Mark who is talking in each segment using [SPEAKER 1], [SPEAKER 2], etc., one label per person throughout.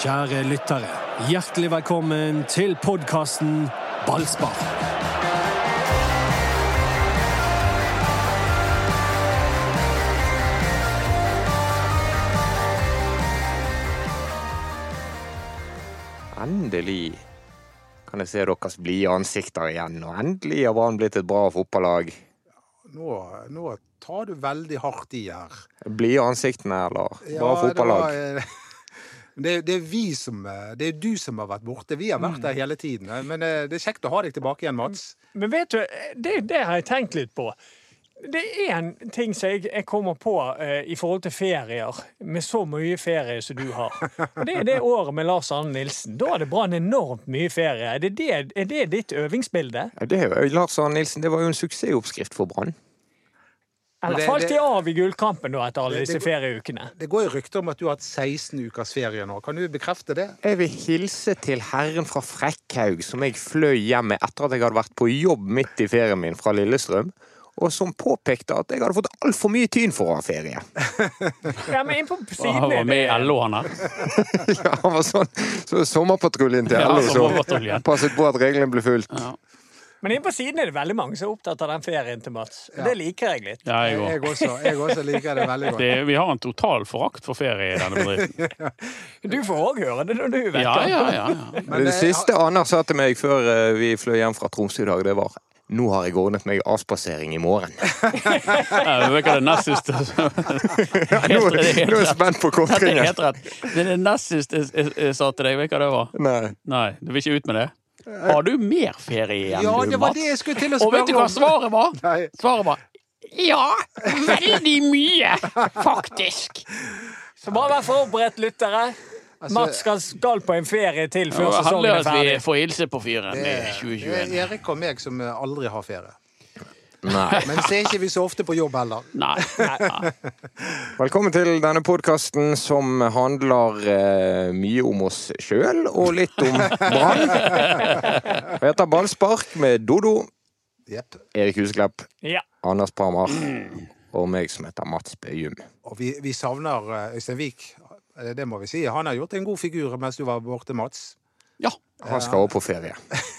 [SPEAKER 1] Kjære lyttere, hjertelig velkommen til podkasten Ballspar.
[SPEAKER 2] Endelig kan jeg se deres blide ansikter igjen, og endelig har Brann blitt et bra fotballag.
[SPEAKER 3] Nå, nå tar du veldig hardt i her.
[SPEAKER 2] Blide ansiktene, eller
[SPEAKER 3] Ja,
[SPEAKER 2] bra fotballag?
[SPEAKER 3] Det, var, eh, det, er- det er vi som eh, Det er du som har vært borte. Vi har vært der hele tiden. eh, Men eh, det er kjekt å ha deg tilbake igjen, Mats.
[SPEAKER 4] Men vet du, det, det har jeg tenkt litt på. Det er en ting som jeg, jeg kommer på eh, i forhold til ferier, med så mye ferie som du har. Og Det er det året med Lars Arne Nilsen. Da er det Brann enormt mye ferie. Er det, det, er det ditt øvingsbilde?
[SPEAKER 2] Ja, Det, er jo- Lars Arne Nilsen, det var jo en suksessoppskrift for Brann.
[SPEAKER 4] Eller
[SPEAKER 3] Det-
[SPEAKER 4] falt
[SPEAKER 3] det-
[SPEAKER 4] de av i gullkampen da etter alle
[SPEAKER 3] Det-
[SPEAKER 4] disse
[SPEAKER 3] det-
[SPEAKER 4] ferieukene?
[SPEAKER 3] Det går jo rykter om at du har hatt 16 ukers ferie nå. Kan du bekrefte det?
[SPEAKER 2] Jeg vil hilse til herren fra Frekkhaug, som jeg fløy hjem med etter at jeg hadde vært på jobb midt i ferien min fra Lillestrøm, og som påpekte at jeg hadde fått altfor mye tyn for å ha ferie.
[SPEAKER 4] Ja, men inn på
[SPEAKER 5] Han
[SPEAKER 4] siden
[SPEAKER 5] var
[SPEAKER 4] er det.
[SPEAKER 5] med i LO, han her.
[SPEAKER 2] Ja, han var sånn, så Sommerpatruljen til
[SPEAKER 5] Ja,
[SPEAKER 2] alle
[SPEAKER 5] sommerpatruljen.
[SPEAKER 2] som passet på at reglene ble fulgt.
[SPEAKER 4] Men inn på siden er det veldig mange som er opptatt av den ferien til Mats. Og Det liker jeg litt.
[SPEAKER 5] Ja, jeg
[SPEAKER 3] Jeg
[SPEAKER 5] òg.
[SPEAKER 3] også, jeg også liker det veldig godt.
[SPEAKER 5] Det- Vi har en total forakt for ferie i denne bedriften.
[SPEAKER 4] Du får òg høre det når du er
[SPEAKER 5] Ja,
[SPEAKER 4] vekke.
[SPEAKER 5] ja, ja. ja.
[SPEAKER 3] Men,
[SPEAKER 2] det
[SPEAKER 3] eh,
[SPEAKER 2] siste Anders sa til meg før eh, vi fløy hjem fra Tromsø i dag, det var nå har jeg ordnet meg avspasering i morgen.
[SPEAKER 5] Jeg vet hva det nest siste
[SPEAKER 2] Nå,
[SPEAKER 5] Helt-
[SPEAKER 2] nå
[SPEAKER 5] det er helt
[SPEAKER 2] er jeg
[SPEAKER 5] rett.
[SPEAKER 2] spent på
[SPEAKER 5] Ja, Det er
[SPEAKER 2] kontringen.
[SPEAKER 5] helt rett. Det er det nest siste jeg- jeg jeg eh, sa til deg. Vet du hva det var?
[SPEAKER 2] Nei.
[SPEAKER 5] Nei, du vil ikke ut med det? Har du mer ferie igjen,
[SPEAKER 3] Ja,
[SPEAKER 5] du,
[SPEAKER 3] det var
[SPEAKER 5] Mats?
[SPEAKER 3] det jeg skulle til å
[SPEAKER 5] Og vet du
[SPEAKER 3] spørre
[SPEAKER 5] hva
[SPEAKER 3] om.
[SPEAKER 5] svaret var?
[SPEAKER 3] Nei.
[SPEAKER 5] Svaret var ja, veldig mye, faktisk.
[SPEAKER 4] Så bare vær forberedt, lyttere.
[SPEAKER 3] Altså-
[SPEAKER 4] Mats skal, skal på en ferie til før
[SPEAKER 5] Det
[SPEAKER 4] sesongen
[SPEAKER 5] handler
[SPEAKER 4] er
[SPEAKER 5] om at vi
[SPEAKER 4] ferdig.
[SPEAKER 5] får hilse på fyren
[SPEAKER 3] Det
[SPEAKER 5] i
[SPEAKER 3] er- det
[SPEAKER 5] 2021.
[SPEAKER 3] er Erik og meg som eh, aldri har ferie.
[SPEAKER 2] Nei.
[SPEAKER 3] Men så er ikke vi så ofte på jobb heller.
[SPEAKER 5] Nei. nei.
[SPEAKER 2] Velkommen til denne podkasten som handler eh, mye om oss sjøl og litt om Brann. Jeg heter Ballspark med Dodo,
[SPEAKER 3] Jep.
[SPEAKER 2] Erik Huseklepp,
[SPEAKER 4] Ja.
[SPEAKER 2] Anders Parmar og meg som heter Mats Bøyum.
[SPEAKER 3] Og vi, vi savner eh, Øystein Wiik. Eh, Det må vi si. Han har gjort en god figur mens du var borte, Mats.
[SPEAKER 5] Ja,
[SPEAKER 2] Han skal også på ferie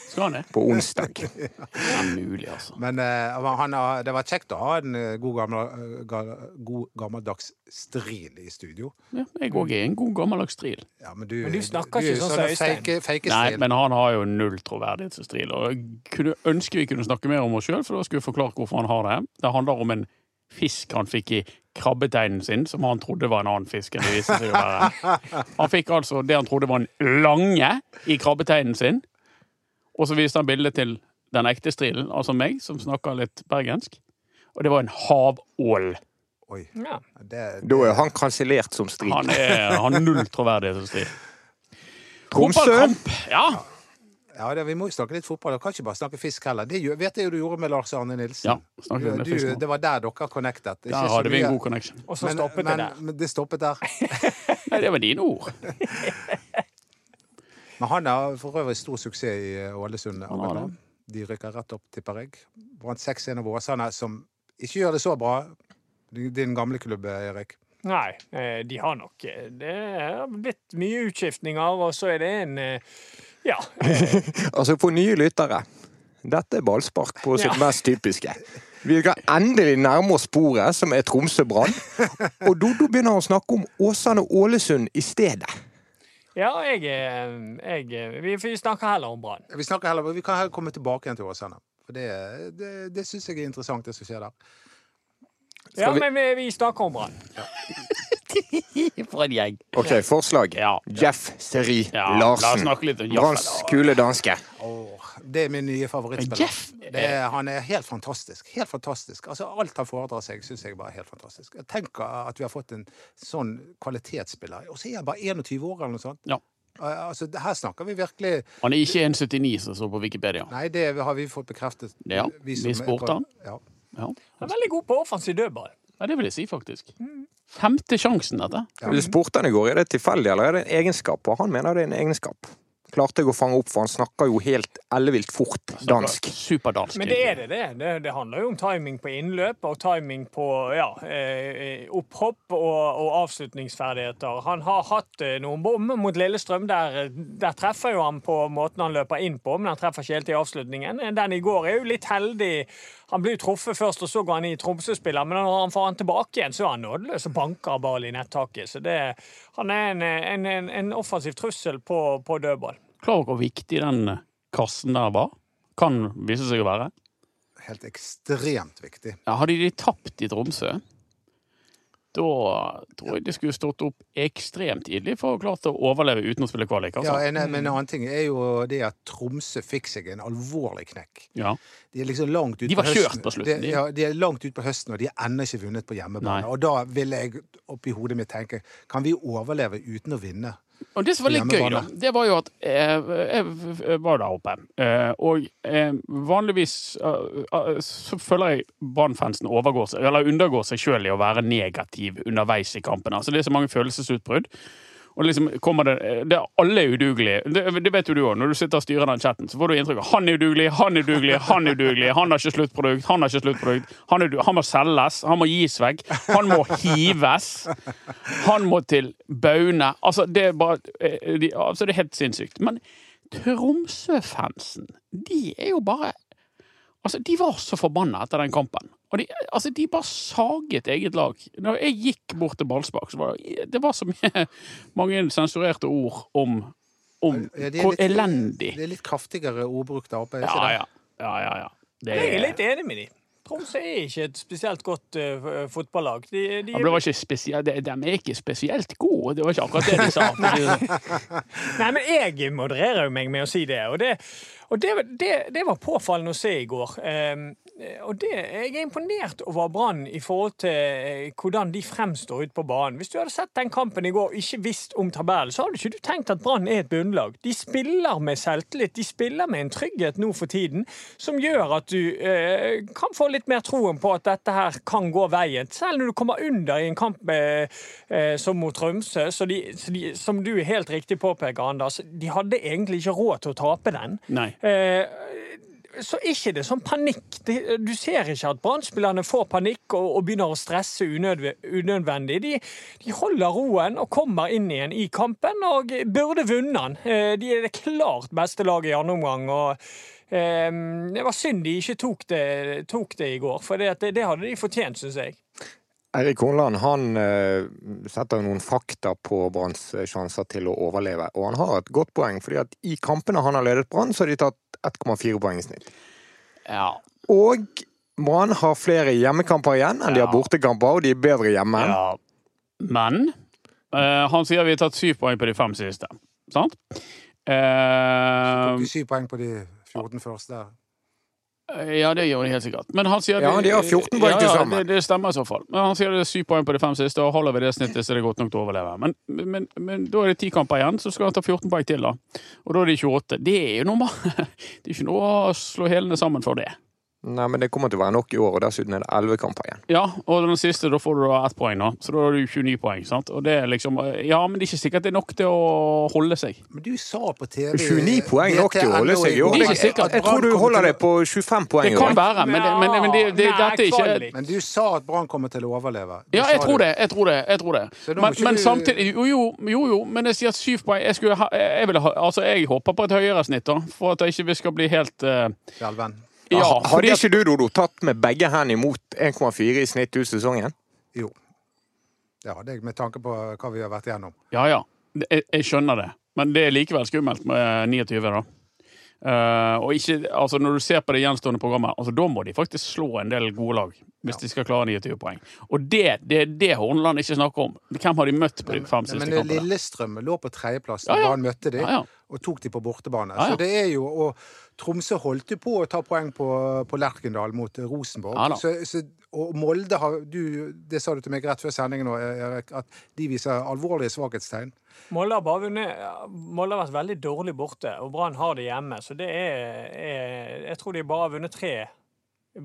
[SPEAKER 5] skal han det?
[SPEAKER 2] på onsdag.
[SPEAKER 5] Det er mulig, altså.
[SPEAKER 3] Men eh, han har, det var kjekt å ha en eh, god, gammel, eh, ga- god gammeldags stril i studio.
[SPEAKER 5] Ja, jeg òg er en god gammeldags stril.
[SPEAKER 3] Ja, men, du,
[SPEAKER 4] Men du snakker
[SPEAKER 3] er
[SPEAKER 4] ikke sånn
[SPEAKER 3] sånn
[SPEAKER 4] som Øystein.
[SPEAKER 3] Fake, fake
[SPEAKER 5] Nei,
[SPEAKER 3] stril.
[SPEAKER 5] men han har jo null troverdighet som stril. Og jeg kunne ønske vi kunne snakke mer om oss sjøl, for da skulle jeg forklare hvorfor han har det. Det handler om en fisk han fikk i krabbeteinen sin, som han trodde var en annen fisk enn det viste seg å være. Han fikk altså det han trodde var en lange i krabbeteinen sin, og så viste han bildet til den ekte strilen, altså meg, som snakker litt bergensk. Og det var en havål.
[SPEAKER 3] Oi,
[SPEAKER 4] ja.
[SPEAKER 3] det,
[SPEAKER 2] Da er han kansellert som strid.
[SPEAKER 5] Han er, har null troverdighet som stril.
[SPEAKER 2] Tromsø.
[SPEAKER 5] Fotballkamp! Ja,
[SPEAKER 3] ja, det, vi må jo snakke litt fotball. Du kan ikke bare snakke fisk heller. Det gjør- vet jeg jo du gjorde med Lars Arne Nilsen.
[SPEAKER 5] Ja, snakker om det
[SPEAKER 3] du,
[SPEAKER 5] fisk nå.
[SPEAKER 3] det var der dere connectet. Ikke
[SPEAKER 5] Der
[SPEAKER 3] så
[SPEAKER 5] hadde vi
[SPEAKER 3] mye.
[SPEAKER 5] en god connection.
[SPEAKER 4] Og så
[SPEAKER 3] men,
[SPEAKER 4] stoppet
[SPEAKER 3] men,
[SPEAKER 4] det der.
[SPEAKER 3] Men det stoppet der.
[SPEAKER 5] Nei, det var dine ord.
[SPEAKER 3] Men han har for øvrig stor suksess i eh, Ålesund.
[SPEAKER 5] har
[SPEAKER 3] akkurat nå. De rykker rett opp, tipper jeg. Vant 6-1 over Åsane, som ikke gjør det så bra. Din gamle klubb, Erik.
[SPEAKER 4] Nei, eh, de har nok eh, Det har blitt mye utskiftninger, og så er det en eh, Ja.
[SPEAKER 2] Altså, for nye lyttere. Dette er ballspark på sitt
[SPEAKER 4] Ja.
[SPEAKER 2] mest typiske. Vi kan endelig nærme oss sporet, som er Tromsø Brann. Og Dodo begynner å snakke om Åsane Ålesund i stedet.
[SPEAKER 4] Ja, jeg, eh, jeg eh, Vi vi snakker heller om Brann.
[SPEAKER 3] Vi, snakker heller, vi kan heller komme tilbake igjen til Åsane. For det, det, det syns jeg er interessant, det som skjer der.
[SPEAKER 4] Ja,
[SPEAKER 2] vi-
[SPEAKER 4] men vi, vi snakker om Brann.
[SPEAKER 5] For en gjeng.
[SPEAKER 2] OK, forslag.
[SPEAKER 5] Ja.
[SPEAKER 2] Jeff Seri
[SPEAKER 5] Ja, la oss
[SPEAKER 2] Larsen.
[SPEAKER 5] snakke litt om Jeff.
[SPEAKER 2] Branns kule danske.
[SPEAKER 3] Åh, det er min nye favorittspiller.
[SPEAKER 5] Jeff eh. er-
[SPEAKER 3] det, er- han er helt fantastisk. Helt fantastisk. Altså, alt han foredrar seg, syns jeg bare er helt fantastisk. Jeg tenker at vi har fått en sånn kvalitetsspiller. Og så er han bare 21 år eller noe sånt.
[SPEAKER 5] Ja.
[SPEAKER 3] Eh, Altså, her snakker vi virkelig
[SPEAKER 5] Han er ikke 1,79 som står på Wikipedia.
[SPEAKER 3] Nei, det har vi fått bekreftet.
[SPEAKER 5] Ja, vi
[SPEAKER 3] som er
[SPEAKER 5] spurte
[SPEAKER 3] på-
[SPEAKER 5] han.
[SPEAKER 3] Ja.
[SPEAKER 5] Ja.
[SPEAKER 4] Han er veldig god på offensiv dødball.
[SPEAKER 5] ja, det vil jeg si, faktisk. Femte sjansen, dette.
[SPEAKER 2] Du spurte han i går er det tilfeldig eller er det en egenskap, og han mener det er en egenskap. klarte jeg å fange opp, for han snakker jo helt ellevilt fort dansk.
[SPEAKER 5] Superdansk.
[SPEAKER 4] Men det er det, det. det. Det handler jo om timing på innløp og timing på ja, eh, opphopp og, og avslutningsferdigheter. Han har hatt eh, noen bom mot Lillestrøm. Der, der treffer jo han på måten han løper inn på, men han treffer ikke helt i avslutningen. Den i går er jo litt heldig. Han blir jo truffet først, og så går han i Tromsø-spiller, men når han får han tilbake igjen, så er han nådeløs og banker ballen i nettaket. Så det, han er en, en, en, en offensiv trussel på, på dødball.
[SPEAKER 5] Klar over hvor viktig den eh, kassen der var. Kan vise seg å være.
[SPEAKER 3] Helt ekstremt viktig.
[SPEAKER 5] Ja, hadde de tapt i Tromsø, da tror jeg de skulle stått opp ekstremt tidlig for å klart å overleve uten å spille kvalik.
[SPEAKER 3] Ja,
[SPEAKER 5] Altså.
[SPEAKER 3] en, men en annen ting er jo det at Tromsø fikk seg en alvorlig knekk.
[SPEAKER 5] Ja.
[SPEAKER 3] De er liksom langt ut
[SPEAKER 5] De var kjørt på slutten,
[SPEAKER 3] De,
[SPEAKER 5] de.
[SPEAKER 3] ja, de er langt ut på høsten, og de har ennå ikke vunnet på hjemmebane.
[SPEAKER 5] Nei.
[SPEAKER 3] Og da vil jeg oppi hodet mitt tenke Kan vi overleve uten å vinne?
[SPEAKER 5] Og det som var litt gøy, da, det var jo at eh, jeg jeg var der oppe. Eh, og eh, vanligvis eh, eh, så føler jeg Brann-fansen overgår seg, eller undergår seg sjøl i å være negativ underveis i kampene. Altså, det er så mange følelsesutbrudd. Og liksom kommer det, det er Alle er udugelige. Det, det vet jo du òg. Når du sitter og styrer den chatten, så får du inntrykk av han er udugelig, han er udugelig, han er udugelig, han har ikke sluttprodukt, han har ikke sluttprodukt. Han, er, udu- han må selges, han må gis vekk, han må hives. Han må til Baune. Altså, det er bare eh, de, altså, Det er helt sinnssykt. Men Tromsø-fansen, de er jo bare Altså, De var så forbanna etter den kampen. Og de, altså, de bare saget eget lag. Når jeg gikk bort til ballspark, så var det, det var så mye, mange sensurerte ord om, om
[SPEAKER 3] Ja, de er
[SPEAKER 5] hvor
[SPEAKER 3] litt-
[SPEAKER 5] elendig
[SPEAKER 3] Det er litt kraftigere ordbruk der oppe. er ikke
[SPEAKER 5] Ja,
[SPEAKER 3] det?
[SPEAKER 5] ja. ja, ja, ja. Det,
[SPEAKER 4] Jeg er
[SPEAKER 5] er-
[SPEAKER 4] litt enig med de. Tromsø er ikke et spesielt godt eh, f- fotballag. De, de,
[SPEAKER 5] ja, men det var ikke spesielt, de, de er ikke spesielt gode. Det var ikke akkurat det de sa. for å si det sånn.
[SPEAKER 4] Nei, men jeg modererer jo meg med å si det. Og det, og det, det, det var påfallende å se i går. Ehm, og det, jeg er imponert over Brann i forhold til eh, hvordan de fremstår ute på banen. Hvis du hadde sett den kampen i går og ikke visst om tabellen, så hadde ikke du tenkt at Brann er et bunnlag. De spiller med selvtillit, de spiller med en trygghet nå for tiden som gjør at du eh, kan få litt mer troen på at dette her kan gå veien. Selv når du kommer under i en kamp eh, eh, som mot Tromsø, så de, så de, som du helt riktig påpeker, Anders, de hadde egentlig ikke råd til å tape den.
[SPEAKER 5] Nei.
[SPEAKER 4] Eh, så er ikke det sånn panikk. Det, du ser ikke at Brann-spillerne får panikk og, og begynner å stresse unødve- unødvendig. De, de holder roen og kommer inn igjen i kampen og burde vunnet den. Eh, De er det klart beste laget i andre omgang. og eh, Det var synd de ikke tok det, tok det i går, for det, at det, det hadde de fortjent, syns jeg.
[SPEAKER 2] Eirik Horneland han eh, setter noen fakta på Branns eh, sjanser til å overleve, og han har et godt poeng, fordi at i kampene han har ledet Brann, så har de tatt 1,4 poeng i snitt.
[SPEAKER 5] Ja.
[SPEAKER 2] Og Brann har flere hjemmekamper igjen enn de har
[SPEAKER 5] Ja.
[SPEAKER 2] bortekamper, og de er bedre hjemme.
[SPEAKER 5] Ja. Men eh, han sier vi har tatt syv poeng på de fem siste. Sant? Eh, um,
[SPEAKER 3] Tok de syv poeng på de 14 første.
[SPEAKER 5] ja, det gjør de helt sikkert. Men han sier
[SPEAKER 2] Ja,
[SPEAKER 5] vi-
[SPEAKER 2] de har 14 poeng
[SPEAKER 5] ja,
[SPEAKER 2] til
[SPEAKER 5] ja,
[SPEAKER 2] sammen.
[SPEAKER 5] Det, det stemmer i så fall. Men han sier det er syv poeng på de fem siste, og holder vi det snittet, så er det godt nok til å overleve. Men, men, men da er det ti kamper igjen, så skal han ta 14 poeng til, da. Og da er de 28. Det er jo normal. Det er ikke noe å slå hælene sammen for det.
[SPEAKER 2] Nei, men det kommer til å være nok i år, og dessuten er det 11 kamper igjen.
[SPEAKER 5] Ja, og den siste, da får du da ett poeng, da. Så da har du 29 poeng, sant. Og det er liksom Ja, men det er ikke sikkert det er nok til å holde seg.
[SPEAKER 3] Men du sa på TV
[SPEAKER 2] 29 poeng nok til å holde
[SPEAKER 3] VTNO
[SPEAKER 2] seg i år.
[SPEAKER 5] Det
[SPEAKER 2] Jeg,
[SPEAKER 5] er ikke
[SPEAKER 2] jeg,
[SPEAKER 5] sikkert.
[SPEAKER 2] tror du holder deg på 25 poeng
[SPEAKER 5] Det
[SPEAKER 2] i år.
[SPEAKER 5] kan være, men, det, men, men det, det,
[SPEAKER 4] Nei,
[SPEAKER 5] dette er ikke
[SPEAKER 4] kvalik.
[SPEAKER 3] Men du sa at Brann kommer til å overleve. Du
[SPEAKER 5] ja,
[SPEAKER 3] sa
[SPEAKER 5] jeg tror det. jeg tror det, jeg tror det.
[SPEAKER 3] Så nå må
[SPEAKER 5] Men,
[SPEAKER 3] ikke du-
[SPEAKER 5] men samtidig jo jo, jo, jo, men jeg sier at syv poeng Jeg, skulle ha, jeg, ville ha, altså, jeg håper på et høyere snitt, da, for at jeg ikke vi skal bli helt eh,
[SPEAKER 3] Skjelven.
[SPEAKER 5] Ja, fordi
[SPEAKER 2] Hadde
[SPEAKER 5] at,
[SPEAKER 2] ikke du, Dodo, tatt med begge hendene imot 1,4 i snitt ut sesongen?
[SPEAKER 3] Jo. Det hadde jeg, med tanke på hva vi har vært igjennom.
[SPEAKER 5] ja, ja. Jeg, jeg skjønner det, men det er likevel skummelt med 29, da. Eh, og ikke, altså Når du ser på det gjenstående programmet, altså da må de faktisk slå en del gode lag. Hvis de skal klare 29 poeng. Og det det er det Horneland ikke snakker om. Hvem har de møtt på de fem siste
[SPEAKER 3] Men
[SPEAKER 5] kampene?
[SPEAKER 3] Lillestrøm lå på tredjeplass
[SPEAKER 5] Ja,
[SPEAKER 3] da
[SPEAKER 5] ja.
[SPEAKER 3] Brann møtte de,
[SPEAKER 5] Ja, ja.
[SPEAKER 3] og tok de på bortebane.
[SPEAKER 5] Ja, ja.
[SPEAKER 3] Så det er jo, Og Tromsø holdt jo på å ta poeng på, på Lerkendal mot eh, Rosenborg.
[SPEAKER 5] Ja da.
[SPEAKER 3] så, så, og Molde har du, Det sa du til meg rett før sendingen nå, Erik, at de viser alvorlige svakhetstegn.
[SPEAKER 4] Molde har bare vunnet Molde har vært veldig dårlig borte, og Brann har det hjemme. Så det er, er Jeg tror de bare har vunnet tre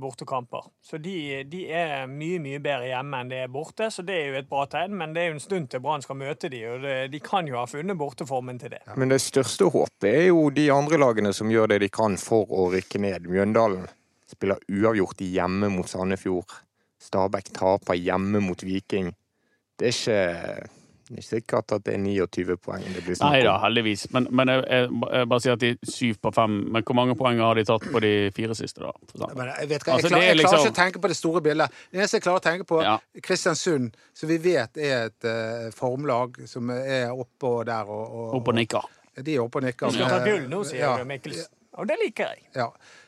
[SPEAKER 4] bortekamper. Så de, de er mye mye bedre hjemme enn de er borte, så det er jo et bra tegn. Men det er jo en stund til Brann skal møte de, og det, de kan jo ha funnet borteformen til det.
[SPEAKER 2] Men det største håpet er jo de andre lagene som gjør det de kan for å rykke ned. Mjøndalen spiller uavgjort hjemme mot Sandefjord. Stabæk taper hjemme mot Viking. Det er ikke, det er ikke sikkert at det er 29 poeng det blir
[SPEAKER 5] Nei
[SPEAKER 2] snakk
[SPEAKER 5] da,
[SPEAKER 2] om.
[SPEAKER 5] heldigvis. Men, men jeg, jeg, jeg bare sier at de er syv på fem. Men hvor mange poeng har de tatt på de fire siste, da? For sånn.
[SPEAKER 3] Men jeg, vet hva, jeg, klarer,
[SPEAKER 5] Altså, det er
[SPEAKER 3] jeg klarer ikke
[SPEAKER 5] liksom-
[SPEAKER 3] å tenke på det store bildet. Det eneste jeg klarer å tenke på,
[SPEAKER 5] Ja.
[SPEAKER 3] Kristiansund, som vi vet er et eh, formlag som er oppe og der og, og,
[SPEAKER 5] Opp og nikker.
[SPEAKER 3] og De er oppe og nikker.
[SPEAKER 4] De skal ta gull nå, sier
[SPEAKER 3] eh, Ja,
[SPEAKER 4] du, Mikkelsen. Og det liker jeg.
[SPEAKER 3] Ja.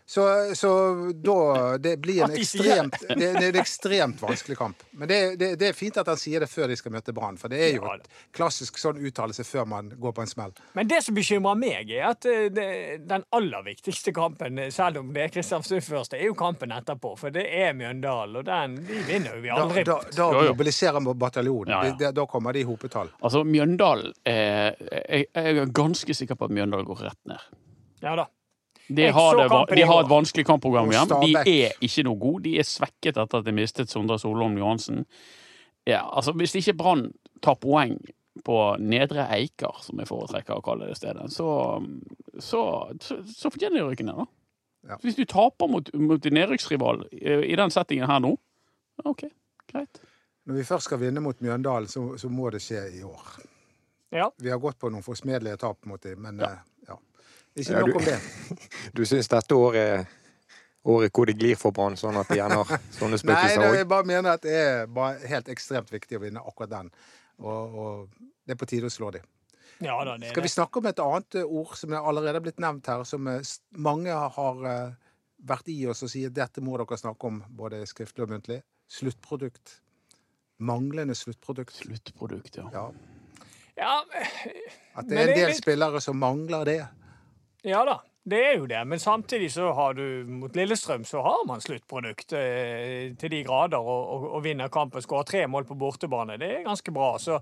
[SPEAKER 3] Så, så da Det blir
[SPEAKER 4] At
[SPEAKER 3] en
[SPEAKER 4] de sier det.
[SPEAKER 3] ekstremt, det, det er en ekstremt vanskelig kamp. Men det, det, det er fint at han sier det før de skal møte Brann, for det er jo
[SPEAKER 4] Ja,
[SPEAKER 3] et klassisk sånn uttalelse før man går på en smell.
[SPEAKER 4] Men det som bekymrer meg, er at eh, det, den aller viktigste kampen, eh, selv om det er Kristiansund først, det er jo kampen etterpå. For det er Mjøndalen, og den de vinner jo vi
[SPEAKER 3] Da,
[SPEAKER 4] aldri.
[SPEAKER 3] da, da
[SPEAKER 5] Jo, jo.
[SPEAKER 3] mobiliserer man bataljonen.
[SPEAKER 5] Ja, ja.
[SPEAKER 3] Det- det- Da kommer de i hopetall.
[SPEAKER 5] Altså, Mjøndalen eh, jeg, jeg er ganske sikker på at Mjøndalen går rett ned.
[SPEAKER 4] Ja da.
[SPEAKER 5] De
[SPEAKER 4] Jeg
[SPEAKER 5] har,
[SPEAKER 4] så
[SPEAKER 5] det, va-
[SPEAKER 4] kampen i
[SPEAKER 5] de har et
[SPEAKER 4] går.
[SPEAKER 5] vanskelig kampprogram
[SPEAKER 3] Og
[SPEAKER 5] igjen.
[SPEAKER 3] Stabæk.
[SPEAKER 5] De er ikke noe gode. De er svekket etter at de mistet Sondre Solholm Johansen. Ja, altså, hvis ikke Brann tar poeng på Nedre Eiker, som jeg foretrekker å kalle det stedet, så, så, så, så fortjener de å rykke ned, da.
[SPEAKER 3] Ja.
[SPEAKER 5] Hvis du taper mot, mot din nedrykksrival eh, i den settingen her nå, ja, OK, greit.
[SPEAKER 3] Når vi først skal vinne mot Mjøndalen, så, så må det skje i år.
[SPEAKER 4] Ja.
[SPEAKER 3] Vi har gått på noen forsmedelige tap mot dem, men eh, ja. Ikke
[SPEAKER 2] Ja, du-
[SPEAKER 3] nok om det.
[SPEAKER 2] Du syns dette året er året hvor det glir for Brann, sånn at de gjerne har sånne
[SPEAKER 3] Nei,
[SPEAKER 2] spøkelser
[SPEAKER 3] det,
[SPEAKER 2] òg?
[SPEAKER 3] jeg bare mener at det er bare helt ekstremt viktig å vinne akkurat den. Og, og det er på tide å slå dem.
[SPEAKER 4] ja da, det er
[SPEAKER 3] Skal vi
[SPEAKER 4] det.
[SPEAKER 3] snakke om et annet eh, ord som er allerede blitt nevnt her, som eh, s- mange har eh, vært i oss og sier dette må dere snakke om, både skriftlig og muntlig? Sluttprodukt. Manglende sluttprodukt.
[SPEAKER 5] Sluttprodukt, ja.
[SPEAKER 3] Ja.
[SPEAKER 4] Ja,
[SPEAKER 3] At det er en
[SPEAKER 4] Men det er
[SPEAKER 3] del
[SPEAKER 4] litt-
[SPEAKER 3] spillere som mangler det.
[SPEAKER 4] ja da. Det er jo det, men samtidig så har du mot Lillestrøm så har man sluttprodukt eh, til de grader og, og, og vinner kampen. Skårer tre mål på bortebane. Det er ganske bra. Så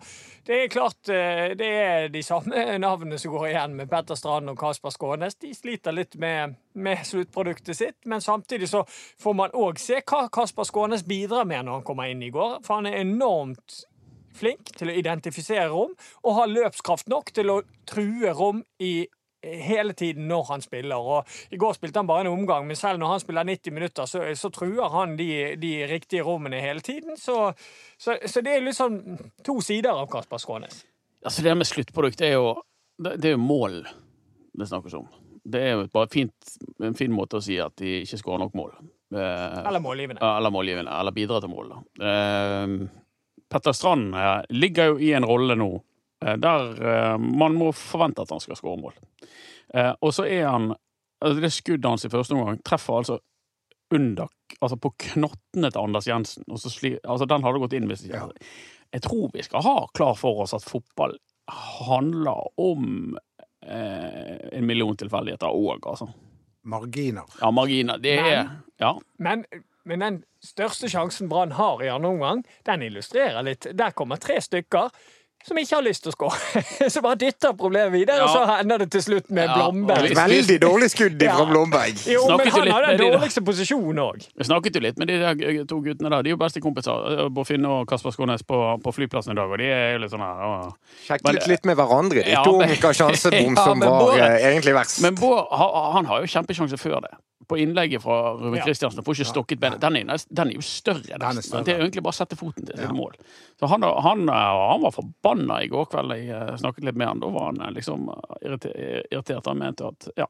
[SPEAKER 4] det er klart eh, det er de samme navnene som går igjen med Petter Strand og Kasper Skånes. De sliter litt med, med sluttproduktet sitt, men samtidig så får man òg se hva Kasper Skånes bidrar med når han kommer inn i går. For han er enormt flink til å identifisere rom, og har løpskraft nok til å true rom i eh, hele tiden når han spiller. Og I går spilte han bare en omgang, men selv når han spiller 90 minutter, så, så truer han de, de riktige rommene hele tiden. Så, så, så det er liksom to sider av Kasper Skånes.
[SPEAKER 5] Altså, det med sluttprodukt er jo Det, det er jo mål det snakkes om. Det er jo bare et fint, en fin måte å si at de ikke skårer nok mål. Eh,
[SPEAKER 4] Eller målgivende.
[SPEAKER 5] Ja, Eller målgivende, eller bidra til mål. da. Eh, Petter Strand eh, ligger jo i en rolle nå eh, der eh, man må forvente at han skal skåre mål. Eh, og så er han altså Det skuddet hans i første omgang treffer altså under Altså på knottene til Anders Jensen. Og så sli, altså den hadde gått inn hvis ikke
[SPEAKER 3] Ja.
[SPEAKER 5] Jeg tror vi skal ha klar for oss at fotball handler om eh, en million tilfeldigheter òg, altså.
[SPEAKER 3] Marginer.
[SPEAKER 5] Ja, marginer. Det er
[SPEAKER 4] Men-
[SPEAKER 5] Ja.
[SPEAKER 4] Men, men den største sjansen Brann har i andre omgang, den illustrerer litt. Der kommer tre stykker. Som ikke har lyst til å skåre. Så bare dytter problemet videre, og så
[SPEAKER 5] Ja.
[SPEAKER 4] ender det til slutt med
[SPEAKER 5] Ja,
[SPEAKER 4] Blomberg.
[SPEAKER 5] og-
[SPEAKER 2] Veldig dårlig skudd
[SPEAKER 4] Ja.
[SPEAKER 2] fra Blomberg!
[SPEAKER 4] Jo, men
[SPEAKER 5] Snakket jo
[SPEAKER 4] han
[SPEAKER 5] litt
[SPEAKER 4] har den
[SPEAKER 5] med de, da.
[SPEAKER 4] dårligste posisjonen òg.
[SPEAKER 5] Jeg snakket jo litt med de der to guttene der. De er jo beste kompiser. Borfinn og Kasper Skånes på, på flyplassen i dag, og de er jo litt sånn her og... Men-
[SPEAKER 2] Sjekket litt med hverandre, de
[SPEAKER 5] Ja,
[SPEAKER 2] to,
[SPEAKER 5] men-
[SPEAKER 2] Mikael Sjansebom,
[SPEAKER 5] Ja,
[SPEAKER 2] som
[SPEAKER 5] men
[SPEAKER 2] var
[SPEAKER 5] Bård-
[SPEAKER 2] eh, egentlig verst.
[SPEAKER 5] Men Bård ha- han har jo kjempesjanse før det. På innlegget fra Ruben
[SPEAKER 4] Ja.
[SPEAKER 5] Kristiansen. Får ikke stokket benet. Den er, nes- den er jo større,
[SPEAKER 3] er
[SPEAKER 5] nesten.
[SPEAKER 3] større.
[SPEAKER 5] Det er jo egentlig bare å sette foten til sitt mål. Så han, han, eh, han var forbanna i går kveld. Jeg eh, snakket litt med han. Da var han eh, liksom eh, irrite- irritert. Han mente at Ja.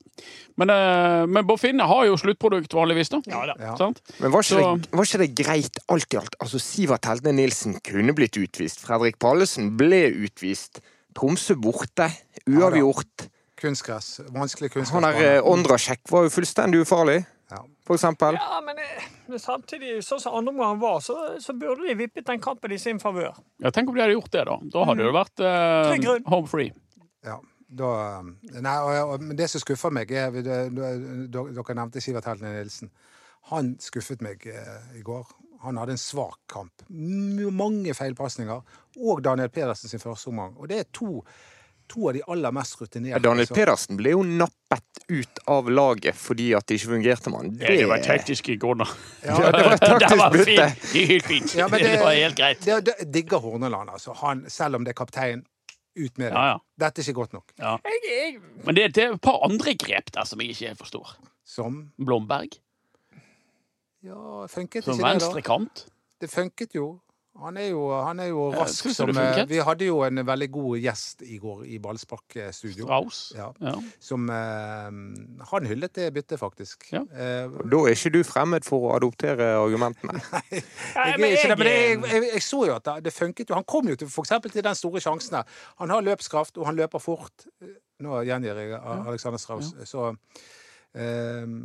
[SPEAKER 5] Men, eh, men Borfinn har jo sluttprodukt vanligvis, da.
[SPEAKER 4] Ja da.
[SPEAKER 3] Ja.
[SPEAKER 5] Sant?
[SPEAKER 2] Men var ikke,
[SPEAKER 5] Så-
[SPEAKER 2] det, var ikke det greit alt i alt? Altså, Sivert Heltne Nilsen kunne blitt utvist. Fredrik Pallesen ble utvist. Tromsø borte. Uavgjort.
[SPEAKER 3] Kunstgress. Vanskelig
[SPEAKER 2] Han eh, der
[SPEAKER 3] kunstgress.
[SPEAKER 2] Ondrasjek var jo fullstendig ufarlig,
[SPEAKER 3] Ja.
[SPEAKER 2] for eksempel.
[SPEAKER 4] Ja, men, eh, men samtidig, sånn som andre omgang var, så, så burde de vippet den kampen i sin favør.
[SPEAKER 5] Ja, tenk om de hadde gjort det, da. Da hadde det jo vært eh,
[SPEAKER 4] Mm. Trygg grunn.
[SPEAKER 5] home free.
[SPEAKER 3] Ja, da, eh, nei, og, og, men det som skuffer meg, er det- det- Dere nevnte Sivert Heltene Nilsen. Han skuffet meg eh, i går. Han hadde en svak kamp. M mange feilpasninger. Og Daniel Pedersen sin første omgang. Og det er to to av de aller mest rutinerte. Altså.
[SPEAKER 2] Daniel
[SPEAKER 3] så-
[SPEAKER 2] Pedersen ble jo nappet ut av laget fordi at det ikke fungerte med han.
[SPEAKER 5] Det var tekniske grunner.
[SPEAKER 3] Ja,
[SPEAKER 2] Ja, det var et
[SPEAKER 5] Det
[SPEAKER 2] taktisk
[SPEAKER 5] var
[SPEAKER 2] bytte.
[SPEAKER 5] fint. Det er helt fint.
[SPEAKER 3] Ja, men
[SPEAKER 5] det, var helt greit.
[SPEAKER 3] Det, det, digger Horneland, altså. Han, selv om det er kaptein, ut med det.
[SPEAKER 5] Ja, ja.
[SPEAKER 3] Dette er ikke godt nok.
[SPEAKER 4] Jeg, jeg,
[SPEAKER 5] Men det, det er et par andre grep der som jeg ikke helt forstår.
[SPEAKER 3] Som
[SPEAKER 5] Blomberg
[SPEAKER 3] Ja, funket
[SPEAKER 5] som
[SPEAKER 3] ikke det, da?
[SPEAKER 5] venstrekant.
[SPEAKER 3] Det funket jo. Han er jo, han er jo
[SPEAKER 5] Ja,
[SPEAKER 3] rask
[SPEAKER 5] synes du
[SPEAKER 3] som
[SPEAKER 5] det
[SPEAKER 3] eh,
[SPEAKER 5] funket?
[SPEAKER 3] Vi hadde jo en veldig god gjest i går i Ballspark-studio.
[SPEAKER 5] Strauss.
[SPEAKER 3] Ja.
[SPEAKER 5] Ja.
[SPEAKER 3] Som eh, Han hyllet det byttet, faktisk.
[SPEAKER 5] Ja.
[SPEAKER 3] Eh,
[SPEAKER 2] Da er ikke du fremmed for å adoptere argumentene.
[SPEAKER 4] Nei,
[SPEAKER 3] jeg,
[SPEAKER 4] men
[SPEAKER 3] er ikke
[SPEAKER 4] jeg-
[SPEAKER 3] det, men jeg, jeg, jeg så jo at det, det funket jo. Han kom jo til for eksempel til den store sjansen her. Han har løpskraft, og han løper fort. Nå gjengir jeg Alexander Strauss, så eh,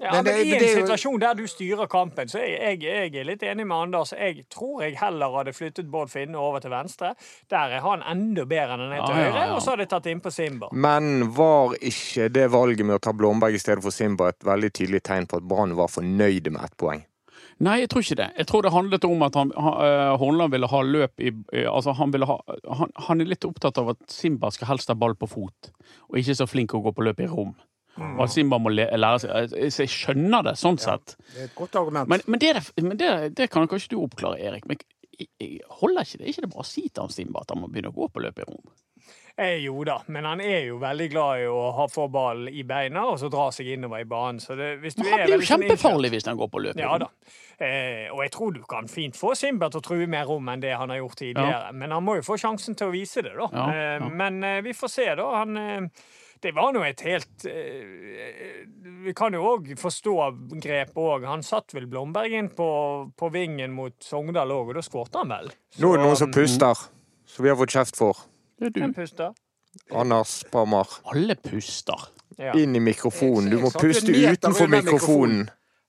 [SPEAKER 4] Ja,
[SPEAKER 3] Men det-
[SPEAKER 4] men, I
[SPEAKER 3] men
[SPEAKER 4] en
[SPEAKER 3] det er jo-
[SPEAKER 4] situasjon der du styrer kampen, så er jeg, jeg, jeg er litt enig med Anders. Jeg tror jeg heller hadde flyttet Bård Finne over til venstre. Der er han enda bedre enn han er til
[SPEAKER 5] Ja, ja,
[SPEAKER 4] høyre,
[SPEAKER 5] ja.
[SPEAKER 4] og så hadde jeg tatt innpå Simba.
[SPEAKER 2] Men var ikke det valget med å ta Blomberg i stedet for Simba et veldig tydelig tegn på at Brann var fornøyde med ett poeng?
[SPEAKER 5] Nei, jeg tror ikke det. Jeg tror det handlet om at han, han, eh, Horneland ville ha løp i eh, Altså, han ville ha han, han er litt opptatt av at Simba skal helst ha ball på fot, og ikke så flink å gå på løp i rom. Og at Simba må le, lære seg eh, Så jeg skjønner det, sånn sett.
[SPEAKER 3] det er et godt argument.
[SPEAKER 5] Men, men, det, er- men det, det kan kanskje du oppklare, Erik. Men jeg, jeg holder ikke det? Er ikke det bra å si til han Simba at han må begynne å gå på løp i rom?
[SPEAKER 4] Eh, jo da, men han er jo veldig glad i å ha få ballen i beina og så dra seg innover i banen. Så det, hvis du
[SPEAKER 5] Men
[SPEAKER 4] er
[SPEAKER 5] han blir
[SPEAKER 4] veldig
[SPEAKER 5] jo
[SPEAKER 4] sånn
[SPEAKER 5] kjempefarlig hvis han går på løp. i
[SPEAKER 4] Ja
[SPEAKER 5] rom.
[SPEAKER 4] da. Eh, og jeg tror du kan fint få Simba til å true mer rom enn det han har gjort tidligere. Men han må jo få sjansen til å vise det, da.
[SPEAKER 5] Ja, ja.
[SPEAKER 4] Eh, men eh, vi får se, da. Han eh, det var nå et helt eh, Vi kan jo òg forstå grepet òg. Han satt vel Blomberg inn på, på vingen mot Sogndal òg, og da skårte han vel.
[SPEAKER 2] Nå er det
[SPEAKER 4] mm.
[SPEAKER 2] noen som puster, som vi har fått kjeft for.
[SPEAKER 5] Det er
[SPEAKER 4] Hvem
[SPEAKER 5] du.
[SPEAKER 4] puster?
[SPEAKER 2] Anders Pammer,
[SPEAKER 5] Alle puster.
[SPEAKER 4] Ja.
[SPEAKER 2] inn i mikrofonen. Du må
[SPEAKER 3] Jeg satt
[SPEAKER 2] puste
[SPEAKER 3] en meter
[SPEAKER 2] utenfor
[SPEAKER 3] unna
[SPEAKER 2] mikrofonen.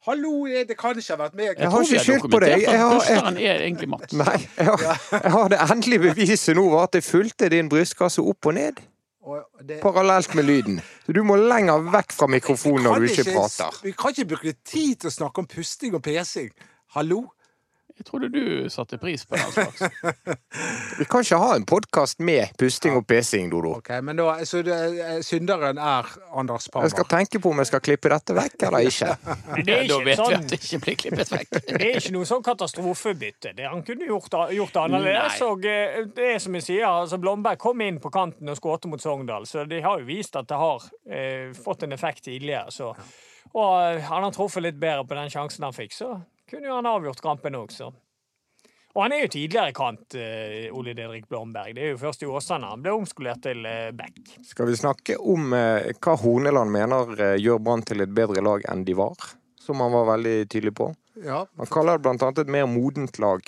[SPEAKER 3] Hallo, jeg- det kan ikke ha vært meg.
[SPEAKER 2] Jeg har
[SPEAKER 5] tror
[SPEAKER 2] ikke
[SPEAKER 5] det er
[SPEAKER 2] skyldt på deg.
[SPEAKER 5] dokumentert at
[SPEAKER 2] Jeg har-
[SPEAKER 5] Pusteren er egentlig Mats.
[SPEAKER 2] Nei, jeg har, jeg har det endelige beviset nå var at det fulgte din brystkasse opp og ned,
[SPEAKER 3] Og det-
[SPEAKER 2] parallelt med lyden. Så du må lenger vekk fra mikrofonen når du
[SPEAKER 3] kan
[SPEAKER 2] ikke prater.
[SPEAKER 3] Vi kan ikke bruke tid til å snakke om pusting og pesing. Hallo?
[SPEAKER 5] Jeg trodde du satte pris på den slags.
[SPEAKER 2] Vi kan ikke ha en podkast med pusting og pesing, Dodo.
[SPEAKER 3] Ok, men da, så det, eh, Synderen er Anders
[SPEAKER 2] Jeg skal
[SPEAKER 3] Parmer.
[SPEAKER 2] tenke på om jeg skal klippe dette vekk eller ikke.
[SPEAKER 4] Det er
[SPEAKER 5] Da
[SPEAKER 4] ikke
[SPEAKER 5] vet vi
[SPEAKER 4] sånn.
[SPEAKER 5] at det ikke blir klippet vekk.
[SPEAKER 4] Det er ikke noe sånn katastrofebytte. Det han kunne gjort, gjort annerledes.
[SPEAKER 5] Nei.
[SPEAKER 4] Og eh, det er som jeg sier, altså Blomberg kom inn på kanten og skårte mot Sogndal, så de har jo vist at det har eh, fått en effekt tidligere. Så. Og eh, han har truffet litt bedre på den sjansen han fikk, så kunne jo han avgjort kampen òg, så. Og han er jo tidligere kant, eh, Ole Didrik Blomberg. Det er jo først i Åsane han ble omskolert til eh, back.
[SPEAKER 2] Skal vi snakke om eh, hva Horneland mener eh, gjør Brann til et bedre lag enn de var? Som han var veldig tydelig på.
[SPEAKER 3] Ja,
[SPEAKER 2] Han kaller det blant annet et mer modent lag.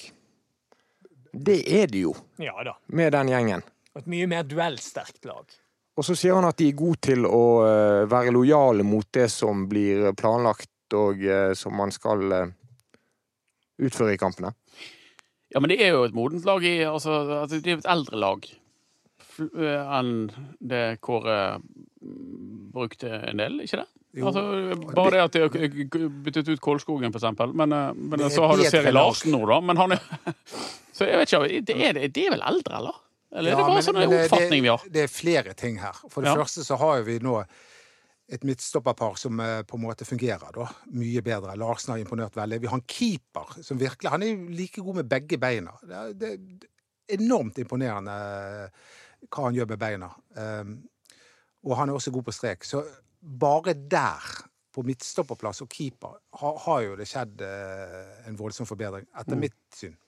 [SPEAKER 2] Det er det jo,
[SPEAKER 4] Ja da.
[SPEAKER 2] med den gjengen.
[SPEAKER 4] Et mye mer duellsterkt lag.
[SPEAKER 2] Og så sier han at de er gode til å eh, være lojale mot det som blir planlagt, og eh, som man skal eh, utføre i kampene.
[SPEAKER 5] Ja, men det er jo et modent lag i Altså, altså, det er jo et eldre lag Fl- eh, enn det Kåre mm, brukte en del, ikke det?
[SPEAKER 3] Jo.
[SPEAKER 5] Altså, bare det at de har k- k- byttet ut Kolskogen, for eksempel. Men, eh, men
[SPEAKER 3] Det er
[SPEAKER 5] så har du
[SPEAKER 3] bedre
[SPEAKER 5] Seri
[SPEAKER 3] lag.
[SPEAKER 5] Larsen nå, da. Men han er Så jeg vet ikke, det er, det er vel eldre, eller? Eller er
[SPEAKER 3] Ja,
[SPEAKER 5] det bare
[SPEAKER 3] men-
[SPEAKER 5] sånn
[SPEAKER 3] men eh,
[SPEAKER 5] en
[SPEAKER 3] det-
[SPEAKER 5] oppfatning vi har?
[SPEAKER 3] Det, det er flere ting her. For det
[SPEAKER 5] Ja.
[SPEAKER 3] første så har jo vi nå et midtstopperpar som eh, på en måte fungerer da. mye bedre. Larsen har imponert veldig. Vi har en keeper som virkelig Han er jo like god med begge beina. Det er, det er enormt imponerende eh, hva han gjør med beina. Um, og han er også god på strek. Så bare der, på midtstopperplass og keeper, har, har jo det skjedd eh, en voldsom forbedring,
[SPEAKER 5] Mm.
[SPEAKER 3] etter mitt syn.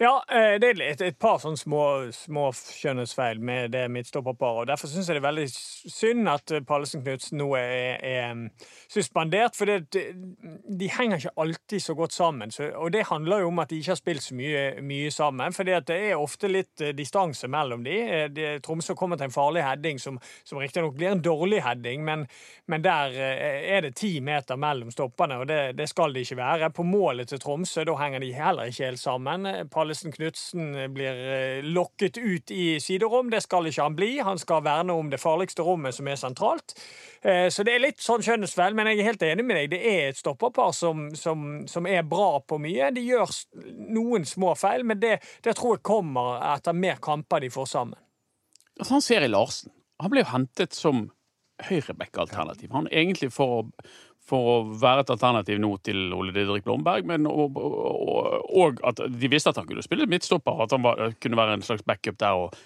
[SPEAKER 4] Ja, eh, det er et, et par sånne små, små skjønnhetsfeil med det midtstopperparet. og Derfor syns jeg det er veldig s- synd at eh, Pallesen Knutsen nå er, er suspendert. For det, det- de henger ikke alltid så godt sammen. Så, og det handler jo om at de ikke har spilt så mye, mye sammen. For det er ofte litt eh, distanse mellom de. Eh, det- Tromsø kommer til en farlig heading, som, som riktignok blir en dårlig heading, men, men der eh, er det ti meter mellom stoppene, og det, det skal det ikke være. På målet til Tromsø, da henger de heller ikke helt sammen. Eh, Pallesen Knutsen blir eh, lokket ut i siderom, det skal ikke han bli. Han skal verne om det farligste rommet som er sentralt. Eh, Så det er litt sånn skjønnhetsfeil, men jeg er helt enig med deg. Det er et stopperpar som, som, som er bra på mye. De gjør s- noen små feil, men det, det tror jeg kommer etter mer kamper de får sammen.
[SPEAKER 5] Altså, han Seri Larsen han ble jo hentet som høyreback-alternativ. Han er egentlig for å, for å være et alternativ nå til Ole Didrik Blomberg, men og, og, og at de visste at han kunne spille midtstopper, at han var, kunne være en slags backup der. Og,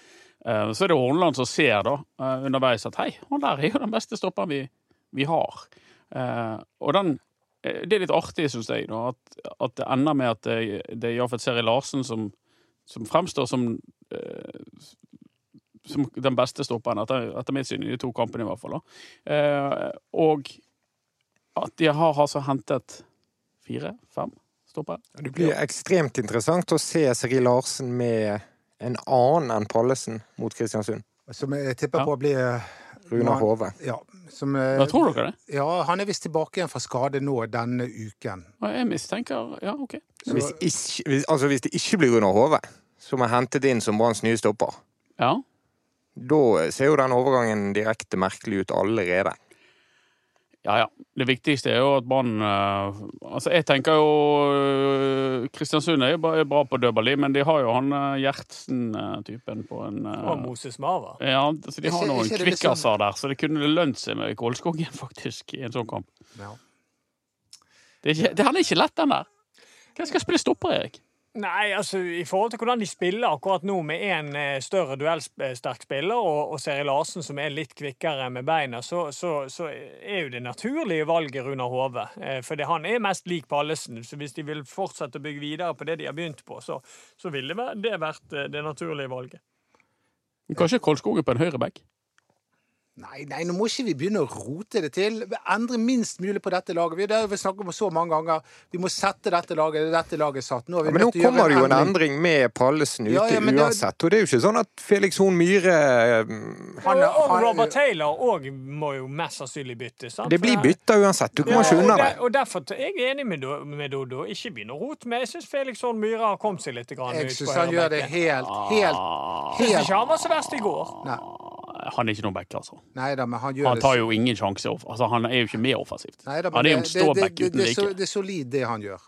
[SPEAKER 5] eh, så er det Horneland som ser da eh, underveis at hei, han der er jo den beste stopperen vi, vi har. Eh, og den eh, det er litt artig, syns jeg, da, at, at det ender med at det, det er Jafet Seri Larsen som, som fremstår som eh, som den beste stopperen, etter, etter mitt syn, i de to kampene i hvert fall. Da. Eh, og at de har altså hentet fire-fem stoppere.
[SPEAKER 2] Det blir ekstremt interessant å se Siri Larsen med en annen enn Pallesen mot Kristiansund.
[SPEAKER 3] Som jeg tipper
[SPEAKER 5] Ja.
[SPEAKER 3] på blir eh,
[SPEAKER 2] Runar Hove.
[SPEAKER 3] Ja, som, eh,
[SPEAKER 5] Hva tror dere det?
[SPEAKER 3] ja, han er visst tilbake igjen fra skade nå denne uken.
[SPEAKER 5] Og Jeg mistenker Ja, OK.
[SPEAKER 3] Så-
[SPEAKER 2] Hvis, ikke- hvis, altså, hvis det ikke blir Runar Hove, som er hentet inn som Branns nye stopper,
[SPEAKER 5] Ja.
[SPEAKER 2] da ser jo den overgangen direkte merkelig ut allerede.
[SPEAKER 5] Ja, ja. Det viktigste er jo at Brann eh, Altså, jeg tenker jo eh, Kristiansund er jo ba- er bra på dødballi, men de har jo han eh, Gjertsen-typen på en eh,
[SPEAKER 4] Og Moses Mava.
[SPEAKER 5] ja, så De har
[SPEAKER 3] Ikke-
[SPEAKER 5] noen
[SPEAKER 3] ikke det litt sånn-
[SPEAKER 5] kvikkaser der, så det kunne lønt seg med Kålskogen, faktisk, i en sånn kamp.
[SPEAKER 3] Ja.
[SPEAKER 5] Det er ikke, det, han er ikke lett, den der. Hvem skal spille stopper, Erik?
[SPEAKER 4] Nei, altså i forhold til hvordan de spiller akkurat nå, med en eh, større duellsterk spiller og, og Seri Larsen som er litt kvikkere med beina, så, så, så er jo det naturlige valget Runar Hove. Eh, for det, han er mest lik Pallesen, så hvis de vil fortsette å bygge videre på det de har begynt på, så, så ville det vært- det vært eh, det naturlige valget.
[SPEAKER 5] Kanskje Kolskogen på en høyreback?
[SPEAKER 3] Nei, nei, nå må ikke vi begynne å rote det til. Endre minst mulig på dette laget. Vi, det har vi snakket om så mange ganger. Vi må sette dette laget. Det er dette laget satt. Nå har vi
[SPEAKER 2] Men nå
[SPEAKER 3] nødt til å gjøre
[SPEAKER 2] kommer det jo en
[SPEAKER 3] endring.
[SPEAKER 2] endring med Pallesen ute
[SPEAKER 3] Ja, ja, men det-
[SPEAKER 2] uansett. Og det er jo ikke sånn at Felix Horn Myhre mm,
[SPEAKER 4] Og,
[SPEAKER 3] Han-
[SPEAKER 4] og
[SPEAKER 3] han-
[SPEAKER 4] Robert Taylor òg må jo mest sannsynlig bytte. sant?
[SPEAKER 2] Det blir
[SPEAKER 4] For-
[SPEAKER 2] bytta uansett. Du kommer
[SPEAKER 4] Ja,
[SPEAKER 2] ikke unna
[SPEAKER 4] og
[SPEAKER 2] det.
[SPEAKER 4] der- Og derfor t- jeg er enig med, Do- med Dodo. Ikke begynn å rote med. Jeg syns Felix Horn Myhre har kommet seg litt grann ut
[SPEAKER 3] Jeg
[SPEAKER 4] på
[SPEAKER 3] syns han gjør det
[SPEAKER 4] høyrebekken.
[SPEAKER 3] helt,
[SPEAKER 5] Ah.
[SPEAKER 3] helt,
[SPEAKER 4] Jeg syns
[SPEAKER 3] helt
[SPEAKER 4] ikke han var så verst i går.
[SPEAKER 3] Nei.
[SPEAKER 5] Han er ikke noen back, altså.
[SPEAKER 3] Nei da, men han gjør
[SPEAKER 5] Han tar
[SPEAKER 3] det
[SPEAKER 5] jo ingen sjanse. off- Altså, han er jo ikke med offensivt.
[SPEAKER 3] Neida, men
[SPEAKER 5] han er jo en
[SPEAKER 3] det- det-
[SPEAKER 5] ståback
[SPEAKER 3] det-
[SPEAKER 5] uten
[SPEAKER 3] det er så-
[SPEAKER 5] like.
[SPEAKER 3] Det er solid, det han gjør.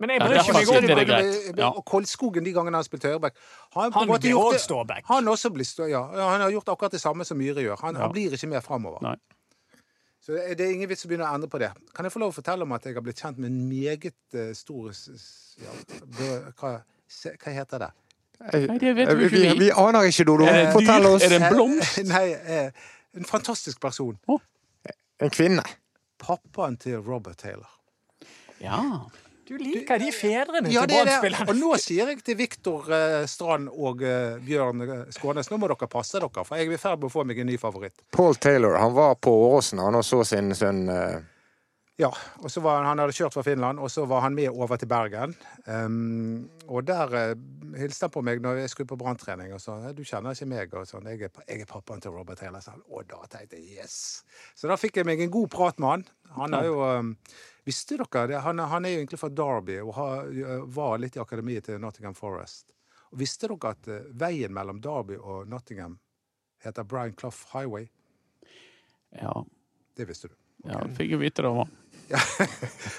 [SPEAKER 4] Men jeg
[SPEAKER 5] Ja,
[SPEAKER 4] bryr
[SPEAKER 5] derfor
[SPEAKER 4] ikke meg
[SPEAKER 5] synes jeg det er
[SPEAKER 4] om det.
[SPEAKER 5] greit. Ja.
[SPEAKER 3] Og Kolskogen, de gangene han har spilt høyreback Han, på en
[SPEAKER 4] Han
[SPEAKER 3] måte
[SPEAKER 4] blir
[SPEAKER 3] gjort
[SPEAKER 4] også
[SPEAKER 3] det-
[SPEAKER 4] ståback.
[SPEAKER 3] Han, også blir stå, ja. han har gjort akkurat det samme som Myhre gjør. Han, han blir ikke med framover.
[SPEAKER 5] Nei.
[SPEAKER 3] Så det er- det er ingen vits å begynne å endre på det. Kan jeg få lov å fortelle om at jeg har blitt kjent med en meget eh, stor s- s- ja, bø- hva, se, hva heter det?
[SPEAKER 5] Nei, det vet
[SPEAKER 2] Eh,
[SPEAKER 5] jo
[SPEAKER 2] vi,
[SPEAKER 5] ikke vi.
[SPEAKER 2] vi aner ikke, Dodo.
[SPEAKER 5] Er det et
[SPEAKER 2] Fortell
[SPEAKER 5] dyr?
[SPEAKER 2] oss.
[SPEAKER 5] Er det en blomst?
[SPEAKER 3] Eh, Nei, eh, en fantastisk person.
[SPEAKER 2] En kvinne.
[SPEAKER 3] Pappaen til Robert Taylor.
[SPEAKER 5] Ja.
[SPEAKER 4] Du liker de fedrene
[SPEAKER 3] Ja,
[SPEAKER 4] til
[SPEAKER 3] det er det. Og
[SPEAKER 4] Brann-spillerne.
[SPEAKER 3] nå sier jeg til Viktor eh, Strand og eh, Bjørn eh, Skånes, nå må dere passe dere, for jeg er i ferd med å få meg en ny favoritt.
[SPEAKER 2] Paul Taylor. Han var på Åråsen han og så sin sønn eh,
[SPEAKER 3] Ja, og så var han, han hadde kjørt fra Finland, og så var han med over til Bergen. Ehm, og der eh, hilste han på meg når jeg skulle på branntrening og sa du kjenner ikke meg, og sånn, jeg er, pa- jeg er pappaen til Robert Taylor. sa han. Og da tenkte jeg yes! Så da fikk jeg meg en god prat med han. Han er jo ehm, Visste dere det? Han, er- han er jo egentlig fra Derby og har, eh, var litt i akademiet til Nottingham Forest. Og visste dere at eh, veien mellom Derby og Nottingham heter Brian Clough Highway?
[SPEAKER 5] Ja.
[SPEAKER 3] Det visste du.
[SPEAKER 5] ja fikk jo vite det. var-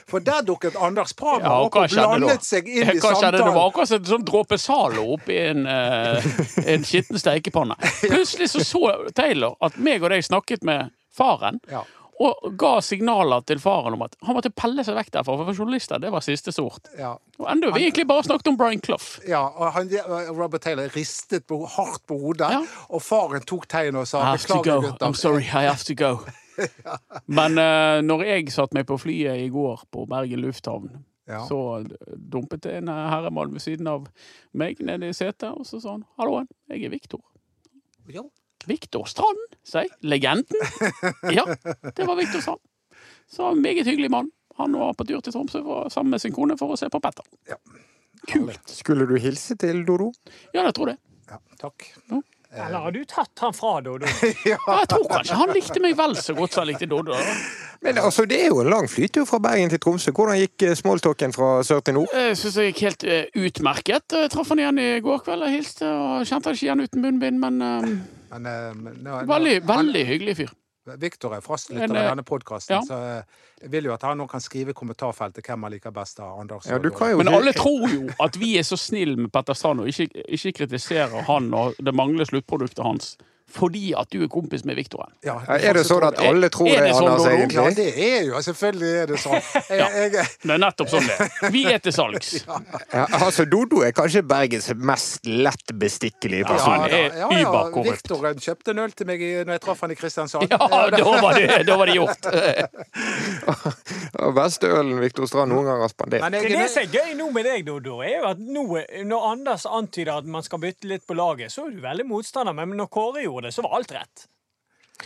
[SPEAKER 3] For der dukket Anders Pramer
[SPEAKER 5] Ja, og
[SPEAKER 3] opp
[SPEAKER 5] hva
[SPEAKER 3] og
[SPEAKER 5] skjedde da?
[SPEAKER 3] blandet seg inn i
[SPEAKER 5] Hva skjedde? Det var
[SPEAKER 3] samtalen.
[SPEAKER 5] akkurat som en sånn dråpe Zalo oppi en, eh, en skitten steikepanne. Plutselig så, så Taylor at meg og deg snakket med faren.
[SPEAKER 3] Ja.
[SPEAKER 5] Og ga signaler til faren om at han måtte pelle seg vekk derfra, for journalister det var siste sort.
[SPEAKER 3] Ja,
[SPEAKER 5] Og enda vi egentlig bare snakket om Brian Clough.
[SPEAKER 3] ja, og han, eh, Robert Taylor ristet på, hardt på hodet,
[SPEAKER 5] Ja.
[SPEAKER 3] og faren tok tegnet og sa
[SPEAKER 5] I have to go.
[SPEAKER 3] beklager, gutter.
[SPEAKER 5] I'm sorry, I have to go. Men eh, når jeg satt meg på flyet i går på Bergen lufthavn,
[SPEAKER 3] Ja.
[SPEAKER 5] så dumpet det en eh, herremann ved siden av meg nede i setet, og så sa han 'Halloen, jeg er Viktor'.
[SPEAKER 3] Ja.
[SPEAKER 5] Viktor Strand, sier jeg. Legenden. Ja, det var Viktor Strand. Så en meget hyggelig mann. Han var på tur til Tromsø for, sammen med sin kone for å se på Petter.
[SPEAKER 3] Ja.
[SPEAKER 5] Kult.
[SPEAKER 2] Skulle du hilse til Dodo?
[SPEAKER 5] Ja, jeg tror det.
[SPEAKER 3] Ja, takk. Eh.
[SPEAKER 4] Eller har du tatt han fra, Dodo?
[SPEAKER 5] Ja, jeg tror kanskje han likte meg vel så godt som han likte Doddo. da.
[SPEAKER 2] Men altså, det er jo en lang flytur fra Bergen til Tromsø. Hvordan gikk eh, smalltalken fra sør til nord?
[SPEAKER 5] Jeg syns jeg gikk helt eh, utmerket. Jeg traff han igjen i går kveld og hilste. og Kjente han ikke igjen uten munnbind, men eh,
[SPEAKER 3] Men, eh, men nå- nå-
[SPEAKER 5] veldig,
[SPEAKER 3] han-
[SPEAKER 5] veldig hyggelig fyr.
[SPEAKER 3] Victor er fastlytter
[SPEAKER 5] En,
[SPEAKER 3] av
[SPEAKER 5] eh,
[SPEAKER 3] denne podkasten,
[SPEAKER 5] ja.
[SPEAKER 3] så eh, jeg vil jo at han nå kan skrive i kommentarfeltet hvem han liker best av Anders.
[SPEAKER 2] Ja,
[SPEAKER 3] og
[SPEAKER 2] du
[SPEAKER 3] Dora.
[SPEAKER 2] kan jo
[SPEAKER 5] Men
[SPEAKER 2] ikke-
[SPEAKER 5] alle tror jo at vi er så snille med Petter Strand og ikke, ikke kritiserer han og det mangler sluttproduktet hans. fordi at du er kompis med Viktoren.
[SPEAKER 3] Ja,
[SPEAKER 2] Er det sånn at alle tror
[SPEAKER 5] Er
[SPEAKER 2] det
[SPEAKER 5] det
[SPEAKER 2] er
[SPEAKER 5] sånn,
[SPEAKER 2] Anders,
[SPEAKER 3] Altså,
[SPEAKER 5] Dodo?
[SPEAKER 3] Ja,
[SPEAKER 2] egentlig?
[SPEAKER 3] det er jo Selvfølgelig er det sånn. Jeg, jeg,
[SPEAKER 5] Det er nettopp sånn det er. Vi er til salgs.
[SPEAKER 2] Ja, altså, Dodo er kanskje Bergens mest lett bestikkelige
[SPEAKER 5] Ja,
[SPEAKER 2] person.
[SPEAKER 5] han er überkorrupt.
[SPEAKER 3] Viktoren kjøpte en øl til meg i- når jeg traff han i Kristiansand.
[SPEAKER 5] Ja, da var det, da var det gjort.
[SPEAKER 2] Og Beste ølen Viktor Strand noen gang har spandert.
[SPEAKER 3] Men jeg,
[SPEAKER 4] Men det som er gøy nå med deg, Dodo, er jo at nå, når Anders antyder at man skal bytte litt på laget, så er du veldig motstander, men når Kåre gjorde det, så var alt rett.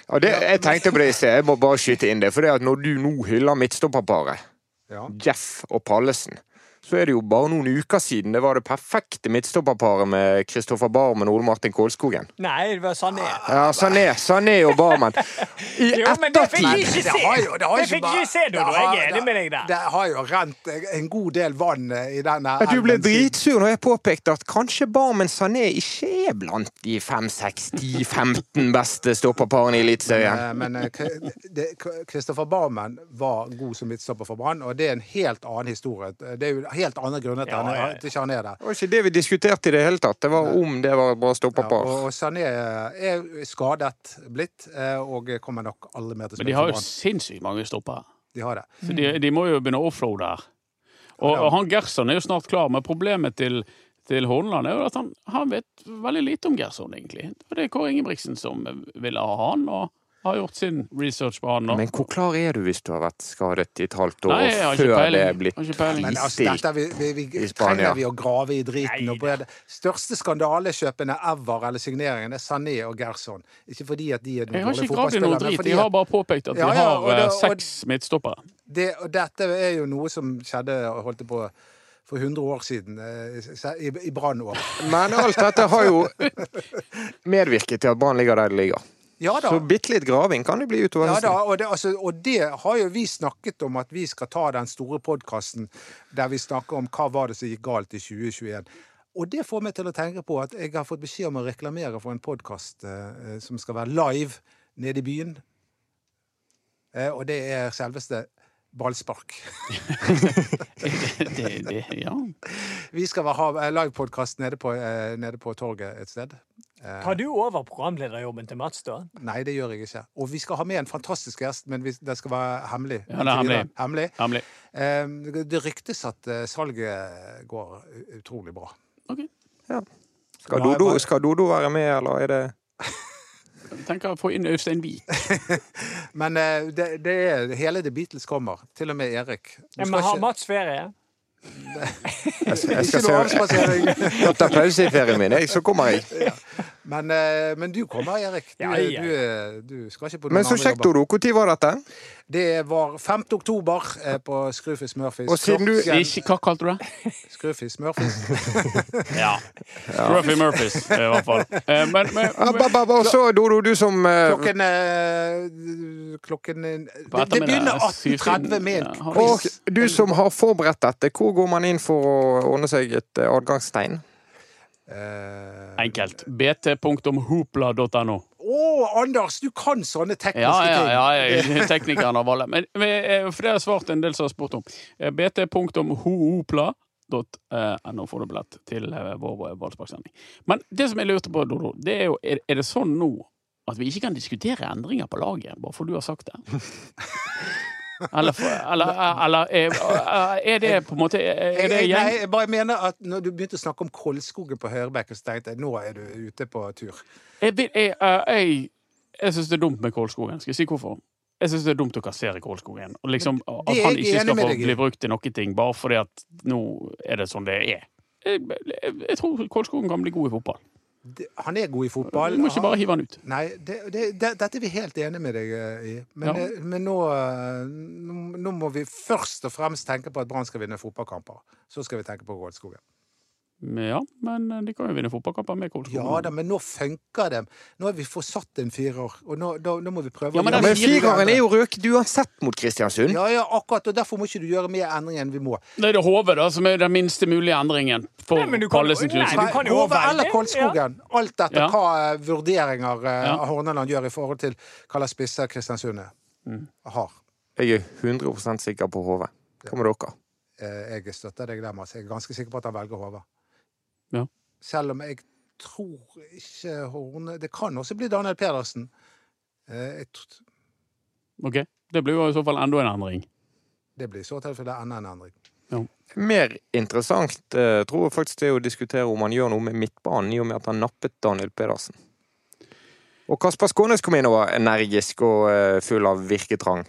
[SPEAKER 2] Og det, jeg tenkte på det i sted, jeg må bare skyte inn det. For det at når du nå hyller midtstopperparet,
[SPEAKER 3] Ja.
[SPEAKER 2] Jeff og Pallesen, så er det jo bare noen uker siden det var det perfekte midtstopperparet med Kristoffer Barmen og Ole Martin Kålskogen.
[SPEAKER 4] Nei, det var Sané.
[SPEAKER 3] Ah,
[SPEAKER 2] Ja, Sané, Sané og Barmen. I
[SPEAKER 4] Jo, men det fikk vi
[SPEAKER 2] ettertid
[SPEAKER 4] ikke se! Det fikk vi ikke se, Dodo. Jeg er enig med deg der.
[SPEAKER 3] Det har jo rent eh, en god del vann eh, i denne
[SPEAKER 2] at du ble
[SPEAKER 3] elven siden.
[SPEAKER 2] dritsur når jeg påpekte at kanskje Barmen Sané ikke er blant de 5-6-10-15 beste stopperparene i Eliteserien.
[SPEAKER 3] Eh, Men eh, K- det- K- Christopher Barmen var god som midtstopper for Brann, og det er en helt annen historie. Det er jo helt andre grunner til
[SPEAKER 4] Ja,
[SPEAKER 3] han
[SPEAKER 4] ja, ja.
[SPEAKER 3] er- til ikke han er der.
[SPEAKER 2] Det var ikke det vi diskuterte i det hele tatt. Det var om det var et bra
[SPEAKER 3] Ja,
[SPEAKER 2] stopperpar.
[SPEAKER 3] og og Sané eh, er skadet blitt, eh, og kommer nok aldri mer til å
[SPEAKER 5] Men de
[SPEAKER 3] spille
[SPEAKER 5] har
[SPEAKER 3] for
[SPEAKER 5] jo
[SPEAKER 3] Brann.
[SPEAKER 5] sinnssykt mange stopper.
[SPEAKER 3] De har det.
[SPEAKER 5] Så de, de må jo begynne å offloade her. Og, og han Gerson er jo snart klar, men problemet til, til Horneland er jo at han, han vet veldig lite om Gerson, egentlig. Og det er Kåre Ingebrigtsen som ville ha han, og har gjort sin research på han. Og,
[SPEAKER 2] Men hvor klar er du hvis du har vært skadet i et halvt år
[SPEAKER 5] Nei, jeg har
[SPEAKER 2] og
[SPEAKER 5] ikke
[SPEAKER 2] før
[SPEAKER 5] peiling.
[SPEAKER 2] det er
[SPEAKER 5] Jeg
[SPEAKER 2] blitt
[SPEAKER 5] har ikke peiling.
[SPEAKER 3] Men altså,
[SPEAKER 2] istik?
[SPEAKER 3] dette vi, vi, vi,
[SPEAKER 2] I Spania.
[SPEAKER 3] trenger vi å grave i driten.
[SPEAKER 4] Nei,
[SPEAKER 3] Og brede. Største skandalekjøpene ever eller signeringen er Sané og Gerson. Ikke fordi at de er
[SPEAKER 5] jeg
[SPEAKER 3] noen
[SPEAKER 5] har
[SPEAKER 3] dårlige
[SPEAKER 5] ikke gravd i noe
[SPEAKER 3] fotballspillere, men
[SPEAKER 5] drit.
[SPEAKER 3] fordi
[SPEAKER 5] De har
[SPEAKER 3] at
[SPEAKER 5] bare påpekt at de
[SPEAKER 3] Ja, ja, og
[SPEAKER 5] har eh,
[SPEAKER 3] det- og-
[SPEAKER 5] seks midtstoppere.
[SPEAKER 3] det, og dette er jo noe som skjedde holdt jeg på, for 100 år siden, eh, se- i, i Brann-år.
[SPEAKER 2] Men alt dette har jo medvirket til at Brann ligger der de ligger.
[SPEAKER 3] Ja da.
[SPEAKER 2] Så bitte litt graving kan det bli utover
[SPEAKER 3] Ja da,
[SPEAKER 2] høsten.
[SPEAKER 3] og det, altså, og det har jo vi snakket om at vi skal ta den store podkasten der vi snakker om hva var det som gikk galt i 2021. Og det får meg til å tenke på at jeg har fått beskjed om å reklamere for en podkast eh, som skal være live nede i byen. Eh, og det er selveste Ballspark.
[SPEAKER 5] Det, det, ja.
[SPEAKER 3] Vi skal ha eh, livepodkast nede, på, eh, nede på torget et sted. eh.
[SPEAKER 4] Tar du over programlederjobben til Mats, da?
[SPEAKER 3] Nei, det gjør jeg ikke. Og vi skal ha med en fantastisk gjest, men vi, det skal være hemmelig.
[SPEAKER 5] Ja, det er hemmelig.
[SPEAKER 3] hemmelig.
[SPEAKER 5] Hemmelig.
[SPEAKER 3] Eh, Det ryktes at eh, salget går u- utrolig bra.
[SPEAKER 5] Ok.
[SPEAKER 2] Ja. Skal, Dodo, skal Dodo være med, eller er det
[SPEAKER 5] Tenker å få inn Øystein Wiik.
[SPEAKER 3] Men eh, det, det er hele The Beatles kommer. Til og med Erik. Du
[SPEAKER 4] Ja,
[SPEAKER 3] skal
[SPEAKER 4] Men har
[SPEAKER 3] ikke-
[SPEAKER 4] Mats ferie?
[SPEAKER 2] Jeg
[SPEAKER 3] ikke
[SPEAKER 2] skal
[SPEAKER 3] noe
[SPEAKER 2] se
[SPEAKER 3] avspasering.
[SPEAKER 2] Etter pause i ferien min, jeg, så kommer jeg.
[SPEAKER 3] Men, eh, men du kommer, Erik. Du,
[SPEAKER 4] Ja, ja.
[SPEAKER 3] du, eh, du skal ikke på noen
[SPEAKER 2] Men så
[SPEAKER 3] andre
[SPEAKER 2] kjekt,
[SPEAKER 3] jobber.
[SPEAKER 2] Dodo. Når var dette?
[SPEAKER 3] Det var 5. oktober eh, på Screwfis Murphys.
[SPEAKER 2] Og siden du-
[SPEAKER 3] Klokken-
[SPEAKER 5] Ikke hva kalte du det?
[SPEAKER 3] Screwfis Murphys.
[SPEAKER 5] Ja. Ruffy Murphys, i hvert fall. Eh, Men, men,
[SPEAKER 2] Ja, ba,
[SPEAKER 5] men
[SPEAKER 2] ba, ba, Og så, Dodo, du som eh,
[SPEAKER 3] Klokken eh, Klokken eh, Det, det begynner
[SPEAKER 5] ettermiddagen,
[SPEAKER 3] 18.30 med
[SPEAKER 5] syv-
[SPEAKER 3] en
[SPEAKER 5] ja,
[SPEAKER 2] Og
[SPEAKER 3] quiz.
[SPEAKER 2] du som har forberedt dette, hvor går man inn for å ordne seg et eh, adgangstegn?
[SPEAKER 3] Eh,
[SPEAKER 5] Enkelt. bt.hopla.no.
[SPEAKER 3] Å, Anders, du kan sånne tekniske
[SPEAKER 5] Ja, ja,
[SPEAKER 3] ting!
[SPEAKER 5] ja, ja. teknikeren av alle. Men, men eh, for det har jeg svart en del som har spurt om. Eh, bt.hoopla.no eh, får du billett til eh, vår ballsparksending. Men det som jeg lurte på, Dodo, det er jo er, er det sånn nå at vi ikke kan diskutere endringer på laget, bare for du har sagt det? Eller, for, eller, eller er, er det på en måte eh, Er det
[SPEAKER 3] Jeg- jeg- Eh, Nei,
[SPEAKER 5] gjeng...
[SPEAKER 3] jeg bare mener at når du begynte å snakke om Kolskogen på høyrebekken, så tenkte jeg nå er du ute på tur.
[SPEAKER 5] Jeg, vil- jeg, eh, jeg, jeg syns det er dumt med Kålskogen. Skal jeg si hvorfor? Jeg syns det er dumt å kassere Kålskogen. Og liksom, at
[SPEAKER 3] er
[SPEAKER 5] han
[SPEAKER 3] jeg
[SPEAKER 5] ikke
[SPEAKER 3] enig
[SPEAKER 5] skal
[SPEAKER 3] med
[SPEAKER 5] få
[SPEAKER 3] deg i.
[SPEAKER 5] bli brukt til noen ting bare fordi at nå er det sånn det er. Jeg, jeg, jeg tror Kålskogen kan bli god i fotball.
[SPEAKER 3] Det- Han er god i fotball.
[SPEAKER 5] Du må ikke bare hive han ut.
[SPEAKER 3] Nei, det, det, det, dette er vi helt enige med deg eh, i. Men,
[SPEAKER 5] Ja.
[SPEAKER 3] eh, men nå, eh, nå nå må vi først og fremst tenke på at Brann skal vinne fotballkamper. Så skal vi tenke på Kolskogen.
[SPEAKER 5] Men Ja, men eh, de kan jo vinne fotballkamper med Kålskogen.
[SPEAKER 3] Ja da, men nå funker det. Nå har vi forsatt en firer, og nå, da, nå må vi prøve
[SPEAKER 5] Ja,
[SPEAKER 3] å
[SPEAKER 5] men
[SPEAKER 2] Ja,
[SPEAKER 3] gjøre
[SPEAKER 2] men
[SPEAKER 5] det sier du
[SPEAKER 2] fireren er jo røket uansett mot Kristiansund.
[SPEAKER 3] Ja, ja, akkurat. Og derfor må ikke du gjøre mer endring enn vi må.
[SPEAKER 5] Det er det HV da, som er den minste mulige endringen for
[SPEAKER 4] Nei, men du kan-
[SPEAKER 5] Pallesen
[SPEAKER 4] Nei,
[SPEAKER 5] Knutsen.
[SPEAKER 4] du kan jo
[SPEAKER 3] Hove
[SPEAKER 4] velge.
[SPEAKER 3] eller Kolskogen. Alt etter
[SPEAKER 5] Ja.
[SPEAKER 3] hva eh, vurderinger eh,
[SPEAKER 5] Ja.
[SPEAKER 3] Horneland gjør i forhold til hva slags spisser Kristiansund er-
[SPEAKER 5] Mm.
[SPEAKER 3] har.
[SPEAKER 2] Jeg er 100 sikker på HV. Hva med dere?
[SPEAKER 3] Eh, Jeg støtter deg der, Mats. Jeg er ganske sikker på at han velger Hove.
[SPEAKER 5] Ja.
[SPEAKER 3] Selv om jeg tror ikke Horne Det kan også bli Daniel Pedersen. Eh, jeg tr-
[SPEAKER 5] Ok, Det blir jo i så fall enda en endring.
[SPEAKER 3] Det blir i så tilfelle enda en endring.
[SPEAKER 2] Mer interessant eh, tror jeg faktisk det er å diskutere om han gjør noe med midtbanen, i og med at han nappet Daniel Pedersen. Og Kasper Skånes kom inn og var energisk og eh, full av virketrang.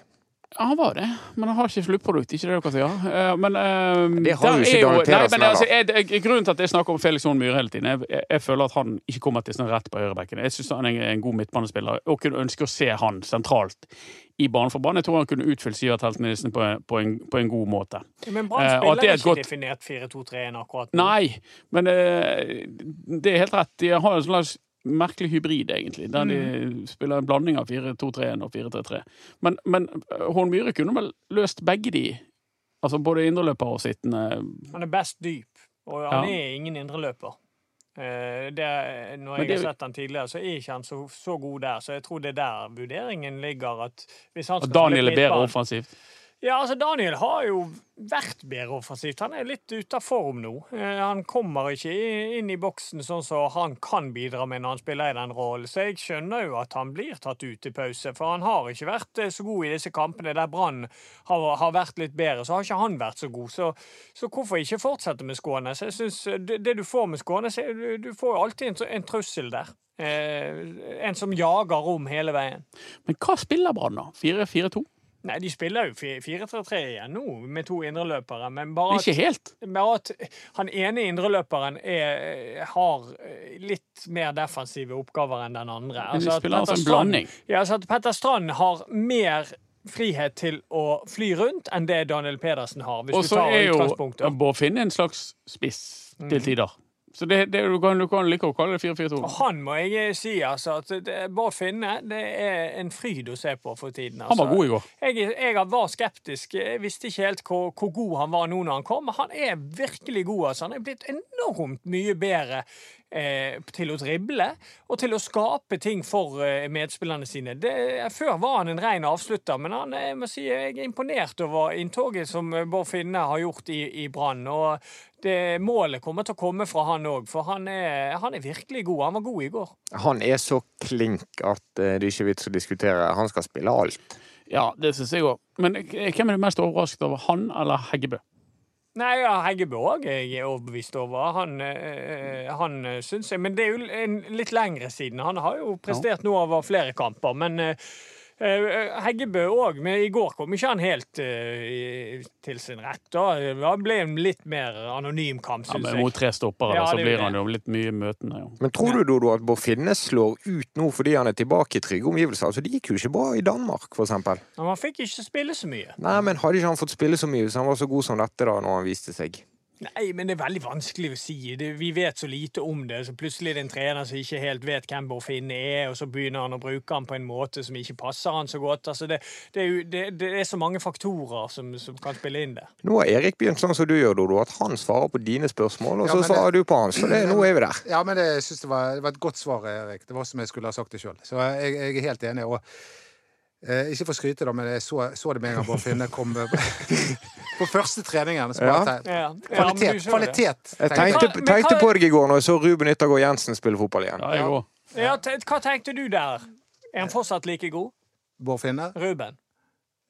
[SPEAKER 5] Ja, han var det, men han har ikke sluttprodukt. Ikke det dere sier. Eh, Men eh,
[SPEAKER 2] Det har
[SPEAKER 5] der
[SPEAKER 2] jo ikke
[SPEAKER 5] er
[SPEAKER 2] Daniel Pedersen,
[SPEAKER 5] Nei, men, altså,
[SPEAKER 2] da.
[SPEAKER 5] jeg, jeg, grunnen til at jeg snakker om Felix Horn Myhre hele tiden, jeg, jeg, jeg føler at han ikke kommer til sin rett på høyrebekken. Jeg syns han er en god midtbanespiller, og kunne ønske å se han sentralt i banen for banen. Jeg tror han kunne utfylt Sivert Helt Nilsen på, en- på, en, på en god måte.
[SPEAKER 4] Men
[SPEAKER 5] Eh,
[SPEAKER 4] Brann
[SPEAKER 5] og at
[SPEAKER 4] spiller
[SPEAKER 5] det er et
[SPEAKER 4] ikke
[SPEAKER 5] godt-
[SPEAKER 4] definert 4-2-3-1 akkurat nå.
[SPEAKER 5] Nei, men eh, det er helt rett. De har en slags merkelig hybrid, egentlig, der
[SPEAKER 4] Mm.
[SPEAKER 5] de spiller en blanding av 4-2-3-1 og 4-3-3. Men, men eh, Hån Myhre kunne vel løst begge de, altså både indreløper og sittende.
[SPEAKER 4] Han er best dyp, og han
[SPEAKER 5] Ja.
[SPEAKER 4] er ingen indreløper. Eh, Det, når
[SPEAKER 5] Men
[SPEAKER 4] jeg
[SPEAKER 5] det-
[SPEAKER 4] har sett han tidligere, så er ikke han så, så god der. Så jeg tror det er der vurderingen ligger. At hvis han
[SPEAKER 5] Og
[SPEAKER 4] skal
[SPEAKER 5] Daniel er
[SPEAKER 4] spille
[SPEAKER 5] bedre
[SPEAKER 4] midtbane-
[SPEAKER 5] offensivt.
[SPEAKER 4] Ja, altså Daniel har jo vært bedre offensivt. Han er litt ute av form nå. Eh, Han kommer ikke i- inn i boksen sånn som han kan bidra med når han spiller i den rollen. Så jeg skjønner jo at han blir tatt ut i pause, for han har ikke vært eh, så god i disse kampene der Brann har, har vært litt bedre. Så har ikke han vært så god. Så, så hvorfor ikke fortsette med Skånes? Jeg synes eh, det, det du får med Skånes, er- du, du får jo alltid en, tr- en trussel der. Eh, en som jager rom hele veien.
[SPEAKER 5] Men hva spiller Brann, da? 4-4-2?
[SPEAKER 4] Nei, de spiller jo 4-3-3 igjen nå, med to indreløpere, men
[SPEAKER 5] Det
[SPEAKER 4] bare
[SPEAKER 5] er Ikke
[SPEAKER 4] at,
[SPEAKER 5] helt.
[SPEAKER 4] bare at han ene indreløperen er, har eh, litt mer defensive oppgaver enn den andre.
[SPEAKER 5] Men de
[SPEAKER 4] at
[SPEAKER 5] spiller altså
[SPEAKER 4] Petter
[SPEAKER 5] en
[SPEAKER 4] Strand-
[SPEAKER 5] blanding.
[SPEAKER 4] Ja, altså at Petter Strand har mer frihet til å fly rundt enn det Daniel Pedersen har, hvis
[SPEAKER 5] Og
[SPEAKER 4] du
[SPEAKER 5] så
[SPEAKER 4] tar Mm.
[SPEAKER 5] er
[SPEAKER 4] utgangspunktet.
[SPEAKER 5] jo Bård Finne en slags spiss til tider. Så det, det, du, kan, du kan like å kalle det 4-4-2.
[SPEAKER 4] Og han må jeg si, altså, at det- Bård Finne det er en fryd å se på for tiden. Altså.
[SPEAKER 5] Han var god i går.
[SPEAKER 4] Jeg, jeg var skeptisk. Jeg visste ikke helt hvor, hvor god han var nå når han kom. Men han er virkelig god. Altså. Han er blitt enormt mye bedre eh, til å drible og til å skape ting for eh, medspillerne sine. Det, eh, før var han en ren avslutter, men han, eh, jeg må si jeg er imponert over inntoget som eh, Bård Finne har gjort i, i Brann. og det Målet kommer til å komme fra han òg, for han er, han er virkelig god. Han var god i går.
[SPEAKER 2] Han er så klink at eh, det er ikke vits å diskutere. Han skal spille alt.
[SPEAKER 5] Ja, det syns jeg òg. Men eh, hvem er du mest overrasket over? Han eller Heggebø?
[SPEAKER 4] Nei, ja, Heggebø òg er jeg overbevist over. Han, øh, han øh, syns jeg Men det er jo en, litt lengre siden. Han har jo prestert nå over flere kamper, men øh, øh, Heggebø òg. Men i går kom ikke han helt øh, i- til sin rett. da. Det ble en litt mer anonym kamp,
[SPEAKER 5] Ja,
[SPEAKER 4] syns
[SPEAKER 5] men
[SPEAKER 4] jeg.
[SPEAKER 5] mot tre stoppere,
[SPEAKER 4] Ja,
[SPEAKER 5] da, så
[SPEAKER 4] det er jo
[SPEAKER 5] blir han
[SPEAKER 4] det.
[SPEAKER 5] jo litt mye møtende. Ja.
[SPEAKER 2] Men tror du, Dodo, at Borfinne slår ut nå fordi han er tilbake i trygge omgivelser? Altså, det gikk jo ikke bra i Danmark, for eksempel.
[SPEAKER 4] Men han fikk ikke spille så mye.
[SPEAKER 2] Nei, men hadde ikke han fått spille så mye hvis han var så god som dette da, når han viste seg?
[SPEAKER 4] Nei, men det er veldig vanskelig å si. Det, vi vet så lite om det. så Plutselig er det en trener som ikke helt vet hvem Borfinn er, og så begynner han å bruke han på en måte som ikke passer han så godt. Altså det, det, er, jo, det, det er så mange faktorer som, som kan spille inn der.
[SPEAKER 2] Nå har Erik begynt sånn som du gjør, Dodo, at han svarer på dine spørsmål, og
[SPEAKER 3] Ja,
[SPEAKER 2] så
[SPEAKER 3] men det-
[SPEAKER 2] svarer du på hans. Så det, nå er vi der.
[SPEAKER 3] Ja, men det, jeg synes det, var, det var et godt svar, Erik. Det var som jeg skulle ha sagt det sjøl. Så jeg, jeg er helt enig. Og, eh, ikke for å skryte, da, men jeg så, så det med en gang Bård Finne kom eh, på første treningen. Så
[SPEAKER 2] Ja.
[SPEAKER 3] bare tenkte-
[SPEAKER 4] Ja. Ja, men du
[SPEAKER 3] Kvalitet!
[SPEAKER 4] så det.
[SPEAKER 3] kvalitet
[SPEAKER 2] Jeg
[SPEAKER 3] tenkte jeg.
[SPEAKER 2] tenkte,
[SPEAKER 4] Men hva-
[SPEAKER 2] tenkte
[SPEAKER 4] men hva-
[SPEAKER 2] på deg i går når jeg så Ruben Yttergård Jensen spille fotball igjen.
[SPEAKER 5] Ja, jeg òg.
[SPEAKER 4] Ja, te- hva tenkte du der? Er han fortsatt like god?
[SPEAKER 3] Bård Finne.
[SPEAKER 4] Ruben?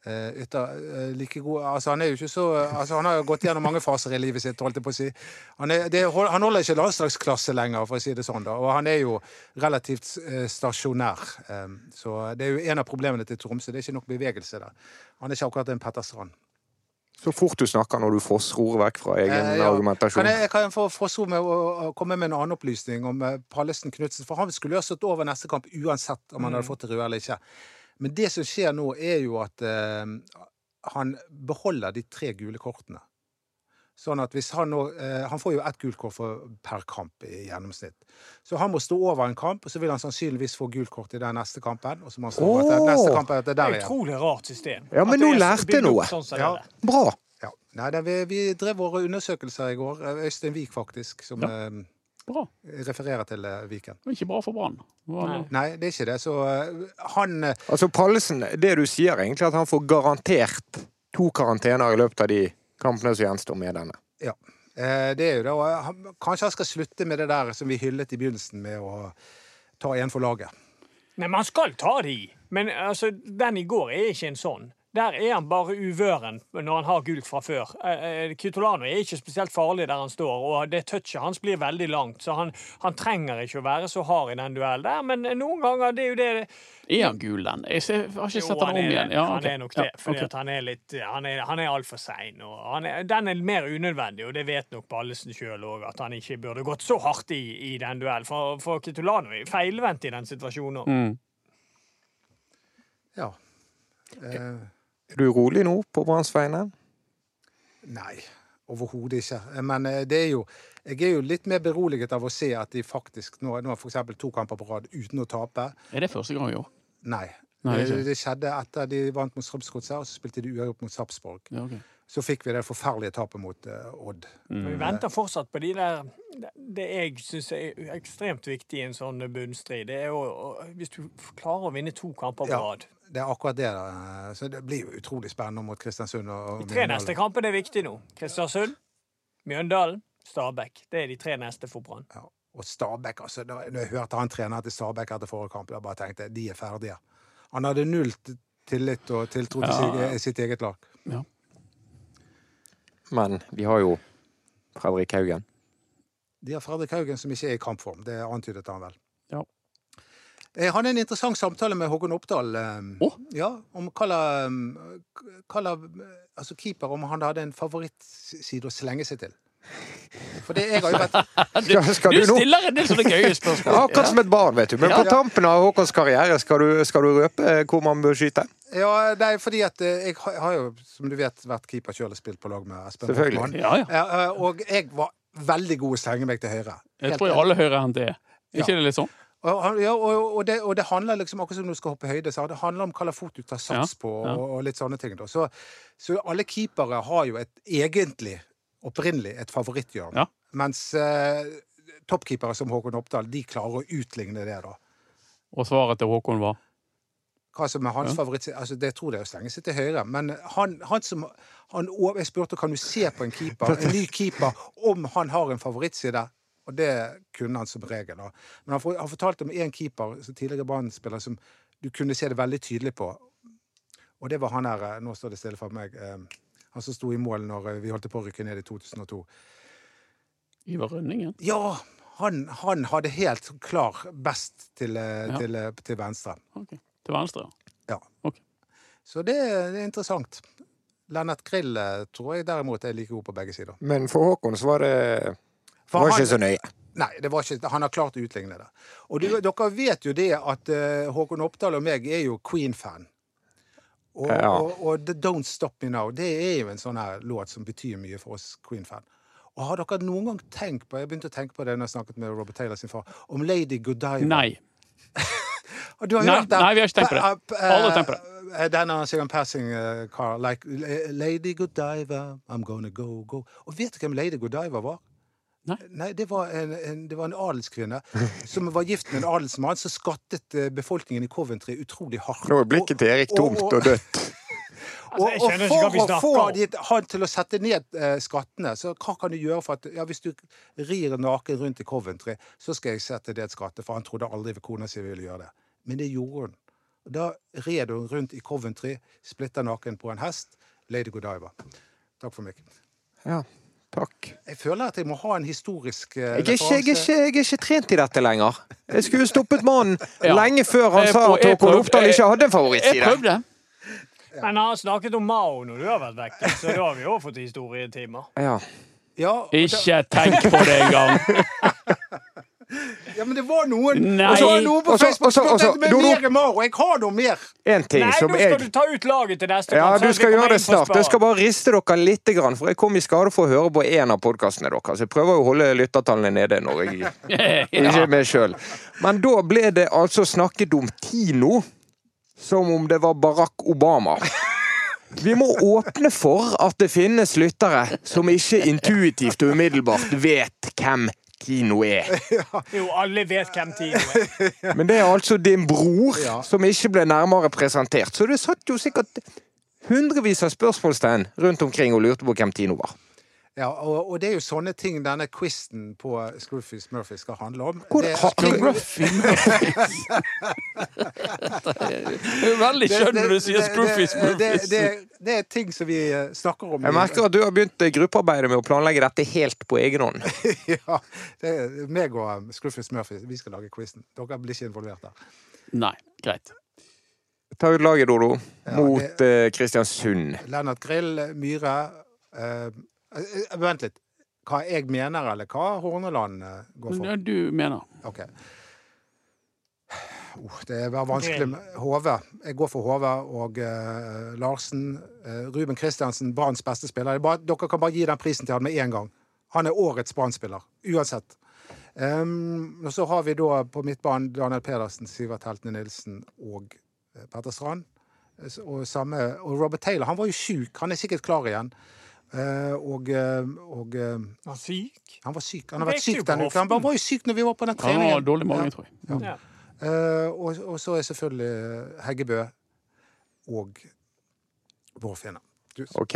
[SPEAKER 3] eh, Ytter, eh, like god altså, Han er jo ikke så altså, Han har jo gått gjennom mange faser i livet sitt, holdt jeg på å si. Han, er, det, hol- han holder ikke landslagsklasse lenger, for å si det sånn, da. Og han er jo relativt eh, stasjonær. Eh, så det er jo en av problemene til Tromsø. Det er ikke nok bevegelse der. Han er ikke akkurat en Petter Strand.
[SPEAKER 2] Så fort du snakker når du fossror vekk fra egen
[SPEAKER 3] Eh, ja.
[SPEAKER 2] argumentasjon.
[SPEAKER 3] Kan jeg, kan jeg få fossord med å, å komme med en annen opplysning om eh, Pallesen Knutsen? For han skulle jo ha stått over neste kamp uansett om han hadde fått det røde eller ikke. Men det som skjer nå, er jo at eh, han beholder de tre gule kortene. Sånn at hvis han nå eh, Han får jo ett gult kort for, per kamp i gjennomsnitt. Så han må stå over en kamp, og så vil han sannsynligvis få gult kort i den neste kampen. Og så må han stå over etter
[SPEAKER 2] Åh!
[SPEAKER 3] neste kamp etter
[SPEAKER 4] Det
[SPEAKER 3] der
[SPEAKER 4] er
[SPEAKER 3] igjen.
[SPEAKER 4] utrolig rart system.
[SPEAKER 2] Ja, men
[SPEAKER 4] At det
[SPEAKER 2] nå
[SPEAKER 4] er
[SPEAKER 2] lærte jeg
[SPEAKER 4] bygd opp
[SPEAKER 2] noe.
[SPEAKER 4] Sånn som det
[SPEAKER 3] Ja.
[SPEAKER 4] er.
[SPEAKER 2] Bra!
[SPEAKER 3] Ja. Nei, det, vi, vi drev våre undersøkelser i går. Øystein Wiik, faktisk, som eh,
[SPEAKER 5] Bra.
[SPEAKER 3] refererer til eh, Viken.
[SPEAKER 5] Men ikke bra for Brann. Hva-
[SPEAKER 4] Nei.
[SPEAKER 3] Nei, det er ikke det. Så eh, han eh,
[SPEAKER 2] Altså, Pallesen, det du sier egentlig, er at han får garantert to karantener i løpet av de kampene som gjenstår med denne.
[SPEAKER 3] Ja. Eh, Det er jo det. Og han- kanskje han skal slutte med det der som vi hyllet i begynnelsen, med å ta en for laget.
[SPEAKER 4] Nei, man skal ta de. Men altså, den i går er ikke en sånn. Der er han bare uvøren når han har gult fra før. Eh, eh, Kytolano er ikke spesielt farlig der han står, og det touchet hans blir veldig langt, så han, han trenger ikke å være så hard i den duellen der, men noen ganger det er jo det
[SPEAKER 5] Er han gul, den? Jeg ser, har ikke sett
[SPEAKER 4] Jo,
[SPEAKER 5] han om
[SPEAKER 4] er det.
[SPEAKER 5] igjen. Ja,
[SPEAKER 4] han
[SPEAKER 5] ok.
[SPEAKER 4] er nok det,
[SPEAKER 5] Ja,
[SPEAKER 4] fordi
[SPEAKER 5] ok.
[SPEAKER 4] at han er litt Han er, han er altfor sein. og han er- Den er mer unødvendig, og det vet nok Ballesen sjøl òg, at han ikke burde gått så hardt i, i den duellen. For, for Kitolano er feilvendt i den situasjonen. også.
[SPEAKER 5] Mm.
[SPEAKER 3] Ja. Eh,
[SPEAKER 2] Er du rolig nå på Branns vegne?
[SPEAKER 3] Nei, overhodet ikke. Men eh, det er jo, jeg er jo litt mer beroliget av å se at de faktisk nå, nå har for eksempel to kamper på rad uten å tape.
[SPEAKER 5] Er det første gang i år?
[SPEAKER 3] Nei.
[SPEAKER 5] Nei,
[SPEAKER 3] Eh,
[SPEAKER 5] ikke.
[SPEAKER 3] det, skjedde etter de vant mot Strømsgodset, og så spilte de uavgjort mot Sarpsborg.
[SPEAKER 5] Ja, ok.
[SPEAKER 3] Så fikk vi det forferdelige tapet mot eh, Odd.
[SPEAKER 4] Men
[SPEAKER 2] Mm.
[SPEAKER 4] vi venter fortsatt på de der Det jeg syns er ekstremt viktig i en sånn bunnstrid, det er jo å- hvis du klarer å vinne to kamper på
[SPEAKER 3] Ja.
[SPEAKER 4] rad.
[SPEAKER 3] Det er akkurat det. da. Så det blir jo utrolig spennende mot Kristiansund. Og, og
[SPEAKER 4] De tre
[SPEAKER 3] Mjøndalen.
[SPEAKER 4] neste kampene er viktige nå. Kristiansund, Mjøndalen, Stabæk. Det er de tre neste for Brann.
[SPEAKER 3] Ja. Og Stabæk, altså. Da når jeg hørte han treneren til Stabæk etter forrige kamp, jeg bare tenkte de er ferdige. Han hadde null t- tillit og tiltro til
[SPEAKER 5] Ja.
[SPEAKER 3] sitt, sitt eget lag.
[SPEAKER 2] Men de har jo Fredrik Haugen.
[SPEAKER 3] De har Fredrik Haugen som ikke er i kampform. Det antydet han vel.
[SPEAKER 5] Ja.
[SPEAKER 3] Jeg hadde en interessant samtale med Håkon Oppdal eh,
[SPEAKER 5] Å?
[SPEAKER 3] ja, om hva la- hva la- altså keeper om han hadde en favorittside å slenge seg til. For det, jeg har jo vært
[SPEAKER 2] Skal, skal
[SPEAKER 5] Du
[SPEAKER 2] du nå?
[SPEAKER 5] stiller en del sånne gøye spørsmål.
[SPEAKER 2] Ja, akkurat som et barn, vet du. Men
[SPEAKER 3] Ja.
[SPEAKER 2] på tampen av Håkons karriere, skal du, skal du røpe eh, hvor man bør skyte?
[SPEAKER 3] Ja, nei, fordi at eh, jeg har har jo, som du vet, vært keeper sjøl og spilt på lag med Espen
[SPEAKER 2] Selvfølgelig.
[SPEAKER 3] Rockman.
[SPEAKER 5] Ja, ja.
[SPEAKER 3] Eh, eh, Og jeg var veldig god å slenge meg til høyre.
[SPEAKER 5] Jeg
[SPEAKER 3] Helt
[SPEAKER 5] tror jeg alle hører han det. Er ikke
[SPEAKER 3] Ja.
[SPEAKER 5] det litt sånn?
[SPEAKER 3] Og, han- ja, og, og, det, og det handler liksom, akkurat som når du skal hoppe i høyde, så det handler om hva slags fot du tar sats på,
[SPEAKER 5] ja.
[SPEAKER 3] og, og litt sånne ting. Da. Så, så alle keepere har jo et egentlig, opprinnelig, et favoritthjørne.
[SPEAKER 5] Ja.
[SPEAKER 3] Mens eh, toppkeepere som Håkon Oppdal, de klarer å utligne det, da.
[SPEAKER 5] Og svaret til Håkon var
[SPEAKER 3] Hva som er hans
[SPEAKER 5] Ja.
[SPEAKER 3] favoritt altså Det tror jeg er å slenge seg til høyre. Men han, han som han, over- Jeg spurte kan du se på en keeper, en ny keeper om han har en favorittside. Og det kunne han som regel. da. Men han, for, han fortalte om én keeper, som tidligere Brann-spiller, som du kunne se det veldig tydelig på. Og det var han her eh, Nå står det stille for meg. eh, Han som sto i mål når eh, vi holdt på å rykke ned i 2002.
[SPEAKER 5] Ivar Rønningen.
[SPEAKER 3] Ja! Han, han hadde helt klar best til, eh,
[SPEAKER 5] Ja.
[SPEAKER 3] til, eh, til venstre.
[SPEAKER 5] Ok. Til venstre.
[SPEAKER 3] Ja.
[SPEAKER 5] Ok.
[SPEAKER 3] Så det, det er interessant. Lennart Grill eh, tror jeg derimot er like god på begge sider.
[SPEAKER 2] Men for Håkon så var det
[SPEAKER 3] For
[SPEAKER 2] var
[SPEAKER 3] han-
[SPEAKER 2] ikke så nøye.
[SPEAKER 3] Nei, det var ikke, han har klart å utligne det. Og du, dere vet jo det at eh, Håkon Oppdal og meg er jo Queen-fan. Og,
[SPEAKER 2] Ja.
[SPEAKER 3] og, og The Don't Stop Me Now det er jo en sånn her låt som betyr mye for oss Queen-fan. Og har dere noen gang tenkt på jeg begynte å tenke på det når jeg snakket med Robert Taylor sin far, om Lady Godiva?
[SPEAKER 5] Nei.
[SPEAKER 3] Og du har
[SPEAKER 5] Nei,
[SPEAKER 3] hørt den?
[SPEAKER 5] nei, vi har ikke tenkt på det.
[SPEAKER 3] Pa- pa-
[SPEAKER 5] Aldri tenkt på
[SPEAKER 3] eh, Den har Sigurd Passing eh, Carl, like, eh, Lady Godiva, I'm gonna go, go. Og vet du hvem Lady Godiva var?
[SPEAKER 5] Nei.
[SPEAKER 3] det, var en, en, det var en adelskvinne som var gift med en adelsmann, så skattet eh, befolkningen i Coventry utrolig hardt.
[SPEAKER 2] Nå er blikket til Erik
[SPEAKER 3] Og- og-
[SPEAKER 2] tomt og dødt.
[SPEAKER 4] Altså, jeg
[SPEAKER 3] og, og
[SPEAKER 4] skjønner ikke hva
[SPEAKER 3] for
[SPEAKER 4] vi
[SPEAKER 3] å
[SPEAKER 4] snakker
[SPEAKER 3] få
[SPEAKER 4] om.
[SPEAKER 3] de, han til å sette ned eh, skattene, så hva kan du gjøre for at ja, Hvis du rir naken rundt i Coventry, så skal jeg sette ned skatter, for han trodde aldri kona si ville gjøre det. Men det gjorde hun. Og Da red hun rundt i Coventry, splitter naken på en hest. Lady Godiva. Takk for meg.
[SPEAKER 2] Ja, takk.
[SPEAKER 3] Jeg føler at jeg må ha en historisk eh,
[SPEAKER 2] Jeg er, ikke, jeg, er
[SPEAKER 3] referanse.
[SPEAKER 2] ikke, jeg er ikke trent i dette lenger. Jeg skulle stoppet mannen
[SPEAKER 5] Ja.
[SPEAKER 2] lenge før han
[SPEAKER 5] Jeg
[SPEAKER 2] sa
[SPEAKER 5] prøv-
[SPEAKER 2] at
[SPEAKER 5] jeg
[SPEAKER 2] Håkon
[SPEAKER 5] prøv-
[SPEAKER 2] Oppdal ikke hadde en
[SPEAKER 5] Jeg
[SPEAKER 2] favorittside.
[SPEAKER 5] prøvde.
[SPEAKER 4] Men han har snakket om Mao når du har vært vekk, så da har vi òg fått historietimer.
[SPEAKER 2] Ja.
[SPEAKER 3] Ja, og da,
[SPEAKER 5] Ikke tenk på det engang.
[SPEAKER 3] ja, men det var noen!
[SPEAKER 5] Nei.
[SPEAKER 3] Og så var det noen på
[SPEAKER 2] Og så-
[SPEAKER 3] Facebook som
[SPEAKER 2] og så-
[SPEAKER 3] spurte
[SPEAKER 2] og så-
[SPEAKER 3] om mer Mao! Jeg har noe mer!
[SPEAKER 2] En ting
[SPEAKER 4] Nei, nå
[SPEAKER 2] som
[SPEAKER 4] skal du
[SPEAKER 2] jeg
[SPEAKER 4] ta ut laget til neste
[SPEAKER 2] ja,
[SPEAKER 4] kamp.
[SPEAKER 2] du
[SPEAKER 4] sånn at vi
[SPEAKER 2] skal
[SPEAKER 4] kommer
[SPEAKER 2] gjøre det
[SPEAKER 4] inn på
[SPEAKER 2] snart.
[SPEAKER 4] spa.
[SPEAKER 2] Jeg skal bare riste dere litt, grann, for jeg kom i skade for å høre på en av podkastene deres. Jeg prøver jo å holde lyttertallene nede når jeg ikke er med sjøl. Men da ble det altså snakket om Tino som om det var Barack Obama. Vi må åpne for at det finnes lyttere som ikke intuitivt og umiddelbart vet hvem Tino er.
[SPEAKER 4] Jo, alle vet hvem Tino er.
[SPEAKER 2] Men det er altså din bror
[SPEAKER 3] Ja.
[SPEAKER 2] som ikke ble nærmere presentert. Så det satt jo sikkert hundrevis av spørsmålstegn rundt omkring og lurte på hvem Tino var.
[SPEAKER 3] Ja, og, og det er jo sånne ting denne quizen på Scruffy Smurfy skal handle om.
[SPEAKER 2] Hvor
[SPEAKER 3] det,
[SPEAKER 2] har-
[SPEAKER 3] ting-
[SPEAKER 5] Ruffy Murphys. Det er veldig skjønn når du sier
[SPEAKER 3] det-
[SPEAKER 5] Scruffy
[SPEAKER 3] det- det-
[SPEAKER 5] Smurfys.
[SPEAKER 3] det- Det er ting som vi eh, snakker om. i-
[SPEAKER 2] Jeg merker at du har begynt eh, gruppearbeidet med å planlegge dette helt på egen hånd.
[SPEAKER 3] ja, det er meg og um, Scruffy Smurfy, vi skal lage quizen. Dere blir ikke involvert der.
[SPEAKER 5] Nei, greit.
[SPEAKER 2] Ta ut laget, Dodo,
[SPEAKER 3] Ja,
[SPEAKER 2] mot eh, Kristiansund.
[SPEAKER 3] Lennart Grill, Myhre eh, eh, Vent litt. Hva jeg mener, eller hva Horneland eh, går for?
[SPEAKER 5] Ja, du mener.
[SPEAKER 3] Ok. Oh, det var vanskelig med HV. Jeg går for HV og eh, Larsen. Eh, Ruben Kristiansen, Branns beste spiller. Det er Bare, dere kan bare gi den prisen til han med en gang. Han er årets Brann-spiller, uansett. Ehm, og så har vi da på midtbanen Daniel Pedersen, Sivert Heltene Nilsen og eh, Petter Strand. Eh, s- Og, samme, og Robert Taylor. Han var jo sjuk. Han er sikkert klar igjen. Eh, og eh, og eh,
[SPEAKER 4] Han er syk.
[SPEAKER 3] han var syk. Han har
[SPEAKER 4] Han
[SPEAKER 3] vært
[SPEAKER 4] gikk jo
[SPEAKER 3] syk
[SPEAKER 4] på
[SPEAKER 3] denne uken. Han
[SPEAKER 4] hoften.
[SPEAKER 3] bare var jo syk når vi var på den
[SPEAKER 5] Han
[SPEAKER 3] treningen.
[SPEAKER 5] har dårlig mage, tror jeg.
[SPEAKER 4] Ja.
[SPEAKER 3] Eh, og, og så er selvfølgelig eh, Heggebø og Vårfinne. Du-
[SPEAKER 2] OK?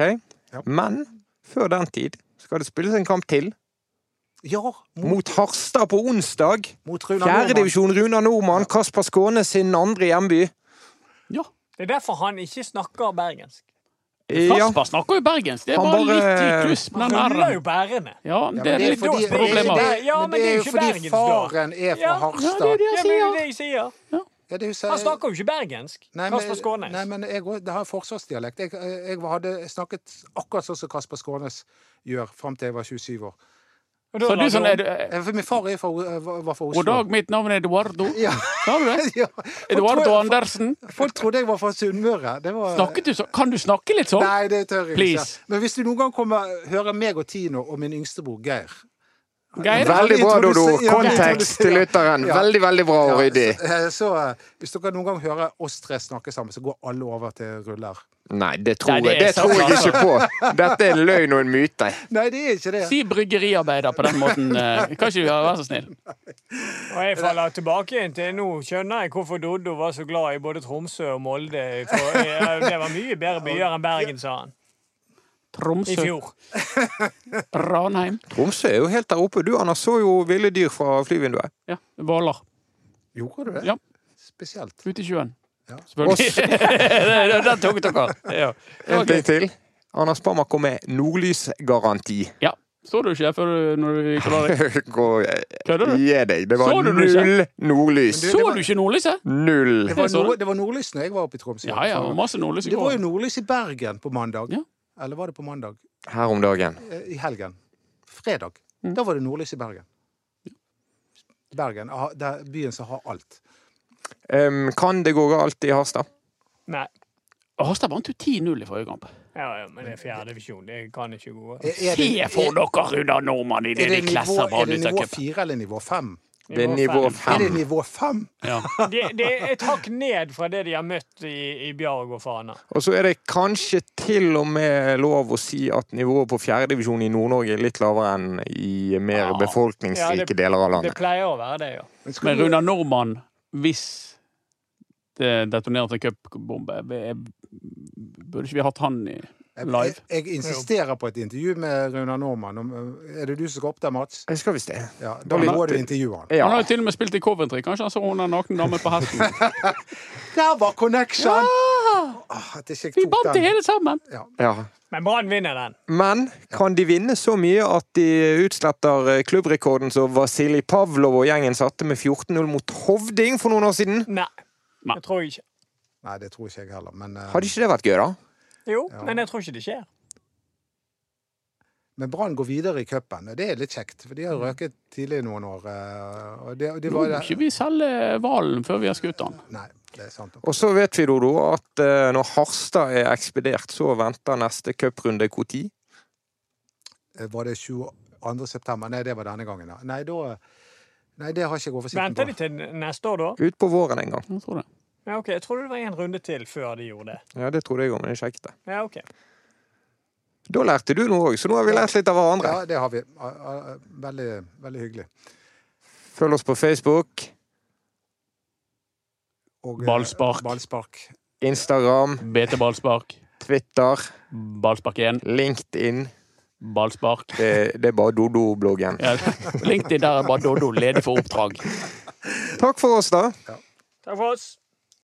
[SPEAKER 3] Ja.
[SPEAKER 2] Men før den tid skal det spilles en kamp til.
[SPEAKER 3] Ja, mot,
[SPEAKER 2] Mot Harstad på onsdag.
[SPEAKER 3] mot Runa Nordmann.
[SPEAKER 2] Fjerdedivisjon Runar Nordmann. Kasper Skåne sin andre hjemby.
[SPEAKER 5] Ja.
[SPEAKER 4] Det er derfor han ikke snakker bergensk.
[SPEAKER 2] Ja,
[SPEAKER 5] Kasper snakker jo bergensk. Det er
[SPEAKER 2] Han
[SPEAKER 5] bare
[SPEAKER 2] bare-
[SPEAKER 5] litt i kluss på
[SPEAKER 4] Han
[SPEAKER 5] den
[SPEAKER 4] ruller
[SPEAKER 5] r-en.
[SPEAKER 4] jo bærene.
[SPEAKER 5] Ja,
[SPEAKER 3] Ja, men
[SPEAKER 5] det er
[SPEAKER 3] jo
[SPEAKER 5] litt
[SPEAKER 3] fordi-
[SPEAKER 4] da
[SPEAKER 5] problemer.
[SPEAKER 4] det-
[SPEAKER 3] men
[SPEAKER 4] Ja, men
[SPEAKER 3] det er jo fordi
[SPEAKER 4] bergens, da.
[SPEAKER 3] faren er fra
[SPEAKER 4] Ja.
[SPEAKER 3] Harstad.
[SPEAKER 5] Ja, det er det
[SPEAKER 4] Ja,
[SPEAKER 5] jeg
[SPEAKER 4] men det er
[SPEAKER 5] sier.
[SPEAKER 4] det jeg sier.
[SPEAKER 3] Ja, det er jo så-
[SPEAKER 4] Han snakker jo ikke bergensk.
[SPEAKER 3] Nei, men-
[SPEAKER 4] Kasper Skånes.
[SPEAKER 3] Nei, men jeg, også- det har forsvarsdialekt. Jeg, jeg hadde snakket akkurat sånn som Kasper Skånes gjør, fram til jeg var 27 år.
[SPEAKER 4] Og da
[SPEAKER 5] Så
[SPEAKER 4] la
[SPEAKER 5] du
[SPEAKER 4] han
[SPEAKER 5] sånn
[SPEAKER 4] om.
[SPEAKER 5] er du-
[SPEAKER 3] Eh, For min far er fra, O- var var fra Oslo.
[SPEAKER 5] God dag, mitt navn er Eduardo.
[SPEAKER 3] Ja.
[SPEAKER 5] Sa du det?
[SPEAKER 3] ja. Folk
[SPEAKER 5] Eduardo
[SPEAKER 3] trodde-
[SPEAKER 5] Andersen.
[SPEAKER 3] Folk trodde jeg var fra Sunnmøre. Det var
[SPEAKER 5] Snakket du så? Kan du snakke litt sånn?
[SPEAKER 3] Nei, det tør jeg
[SPEAKER 5] Please.
[SPEAKER 3] ikke. Men hvis du noen gang kommer, hører meg og Tino og min yngstebror Geir
[SPEAKER 5] Geir?
[SPEAKER 3] Vel-
[SPEAKER 2] veldig bra,
[SPEAKER 3] introduser-
[SPEAKER 2] Dodo.
[SPEAKER 3] ja,
[SPEAKER 2] Kontekst til
[SPEAKER 3] introduser-
[SPEAKER 2] lytteren.
[SPEAKER 3] Ja.
[SPEAKER 2] Veldig, veldig bra og ryddig.
[SPEAKER 3] eh, Så eh, hvis dere noen gang hører oss tre snakke sammen, så går alle over til ruller.
[SPEAKER 2] Nei, det tror
[SPEAKER 5] Nei,
[SPEAKER 2] jeg,
[SPEAKER 5] det er
[SPEAKER 2] det tror jeg ikke
[SPEAKER 5] sant,
[SPEAKER 2] på. Dette er løgn og en myte.
[SPEAKER 3] Nei, det er ikke det.
[SPEAKER 5] Si bryggeriarbeider på den måten. eh, Kan ikke du være så snill?
[SPEAKER 4] Og jeg faller tilbake igjen til nå skjønner jeg hvorfor Doddo var så glad i både Tromsø og Molde. For eh, det var mye bedre byer enn Bergen, sa han i
[SPEAKER 5] Tromsø,
[SPEAKER 4] fjor.
[SPEAKER 5] Ranheim,
[SPEAKER 2] Tromsø er jo helt der oppe. Du, Anders, så jo ville dyr fra flyvinduet.
[SPEAKER 5] ja, Hvaler.
[SPEAKER 3] Gjorde du det?
[SPEAKER 5] Ja.
[SPEAKER 3] Spesielt.
[SPEAKER 5] Ute i sjøen.
[SPEAKER 3] Ja.
[SPEAKER 5] Selvfølgelig. Den- Den tok dere. Ja. Det var
[SPEAKER 2] En ting
[SPEAKER 5] gøy.
[SPEAKER 2] til. Anders Bammer kom med nordlysgaranti.
[SPEAKER 5] Ja. Så du ikke før du- når du gikk og la deg?
[SPEAKER 2] Gå-
[SPEAKER 5] Kødder du?
[SPEAKER 2] Gi deg. Det
[SPEAKER 5] Så
[SPEAKER 2] var
[SPEAKER 5] du det ikke?
[SPEAKER 2] null nordlys.
[SPEAKER 3] Men
[SPEAKER 5] Så du ikke nordlyset?
[SPEAKER 2] Null.
[SPEAKER 3] Det var,
[SPEAKER 5] Jeg så
[SPEAKER 3] nord,
[SPEAKER 5] det.
[SPEAKER 3] det var nordlys når jeg var oppe i Tromsø.
[SPEAKER 5] Ja, ja, og masse nordlys i
[SPEAKER 3] Det var jo
[SPEAKER 5] går.
[SPEAKER 3] nordlys i Bergen på mandag.
[SPEAKER 5] Ja.
[SPEAKER 3] Eller var det på mandag?
[SPEAKER 2] Her om dagen.
[SPEAKER 3] Eh, I helgen. Fredag.
[SPEAKER 5] Mm.
[SPEAKER 3] Da var det nordlys i Bergen. Bergen, ah, det er byen som har alt.
[SPEAKER 2] Em, kan det gå galt i Harstad?
[SPEAKER 4] Nei.
[SPEAKER 5] Harstad vant jo 10-0 i forrige kamp.
[SPEAKER 4] Ja, ja, men det er fjerde divisjon. Det kan ikke gå.
[SPEAKER 3] Er, er
[SPEAKER 5] Se for dere Runar Nordmann i det de klasser
[SPEAKER 3] nivå, er det nivå
[SPEAKER 5] Brannlysa-cupen.
[SPEAKER 3] fire eller nivå fem?
[SPEAKER 2] Det er nivå
[SPEAKER 3] Er det
[SPEAKER 2] fem.
[SPEAKER 3] nivå fem?
[SPEAKER 5] Ja.
[SPEAKER 4] Det, det er et hakk ned fra det de har møtt i, i Bjarg og Fana.
[SPEAKER 2] Og så er det kanskje til og med lov å si at nivået på fjerdedivisjon i Nord-Norge er litt lavere enn i mer
[SPEAKER 5] Ja.
[SPEAKER 4] Ja,
[SPEAKER 2] befolkningsrike
[SPEAKER 4] det-
[SPEAKER 2] deler av
[SPEAKER 4] Det
[SPEAKER 2] landet.
[SPEAKER 4] pleier å være det, ja.
[SPEAKER 3] Men skal
[SPEAKER 5] Men
[SPEAKER 3] du-
[SPEAKER 5] Runar Nordmann, hvis det detonerte en cupbombe vi- Burde ikke vi hatt han i
[SPEAKER 3] jeg,
[SPEAKER 5] live?
[SPEAKER 3] jeg insisterer på et intervju med Runar Normann. Om, eh, er det du som skal opp der, Mats?
[SPEAKER 2] Jeg skal visst det.
[SPEAKER 3] Ja, da
[SPEAKER 2] Litt-
[SPEAKER 3] må du intervjue han.
[SPEAKER 5] Han har
[SPEAKER 2] Ja.
[SPEAKER 5] jo til og med spilt i Coventry. Kanskje han så hun den nakne dame på hesten?
[SPEAKER 3] Der var connection! Ah, at ikke jeg
[SPEAKER 5] Vi
[SPEAKER 3] tok
[SPEAKER 5] bandt det
[SPEAKER 3] den.
[SPEAKER 5] hele sammen!
[SPEAKER 2] ja.
[SPEAKER 4] Men Brann vinner den.
[SPEAKER 2] Men kan de vinne så mye at de utsletter eh, klubbrekorden som Vasilij Pavlov og gjengen satte med 14-0 mot Hovding for noen år siden?
[SPEAKER 4] Nei.
[SPEAKER 5] Nei.
[SPEAKER 4] Det tror jeg ikke.
[SPEAKER 3] Nei, det tror ikke jeg heller. Men, eh,
[SPEAKER 2] Hadde ikke det vært gøy, da?
[SPEAKER 4] Jo,
[SPEAKER 3] Ja.
[SPEAKER 4] men jeg tror ikke det skjer.
[SPEAKER 3] men Brann går videre i cupen, og det er litt kjekt. For de har røket tidlig i noen år. eh, Og det, og de
[SPEAKER 5] Nå
[SPEAKER 3] var
[SPEAKER 5] må Mm. ikke vi selge hvalen før vi har skutt han.
[SPEAKER 3] Nei, det er sant.
[SPEAKER 2] Og så vet vi, Dodo, at eh, når Harstad er ekspedert, så venter neste cuprunde når?
[SPEAKER 3] Eh, Var det 22. september? Nei, det var denne gangen, ja. Nei, da Nei, det har ikke jeg oversikten
[SPEAKER 4] Venter
[SPEAKER 3] på.
[SPEAKER 4] de til neste år, da?
[SPEAKER 2] Ut på våren en gang.
[SPEAKER 5] Jeg tror det.
[SPEAKER 4] Ja, ok, Jeg trodde det var en runde til før de gjorde det.
[SPEAKER 2] Ja, det trodde jeg òg, men jeg sjekket det.
[SPEAKER 4] Ja, ok.
[SPEAKER 2] Da lærte du noe òg, så nå har vi lært litt av hverandre.
[SPEAKER 3] Ja, det har vi. Ah, ah, Veldig, veldig hyggelig.
[SPEAKER 2] Følg oss på Facebook,
[SPEAKER 3] Og, eh,
[SPEAKER 5] Ballspark.
[SPEAKER 3] Ballspark.
[SPEAKER 2] Instagram,
[SPEAKER 5] BT ballspark.
[SPEAKER 2] Twitter,
[SPEAKER 5] Ballspark 1.
[SPEAKER 2] LinkedIn.
[SPEAKER 5] Ballspark.
[SPEAKER 2] Det, det er bare Dodo-bloggen.
[SPEAKER 5] Ja, LinkedIn der er bare Doddo ledig for oppdrag.
[SPEAKER 2] Takk for oss, da.
[SPEAKER 4] Takk for oss.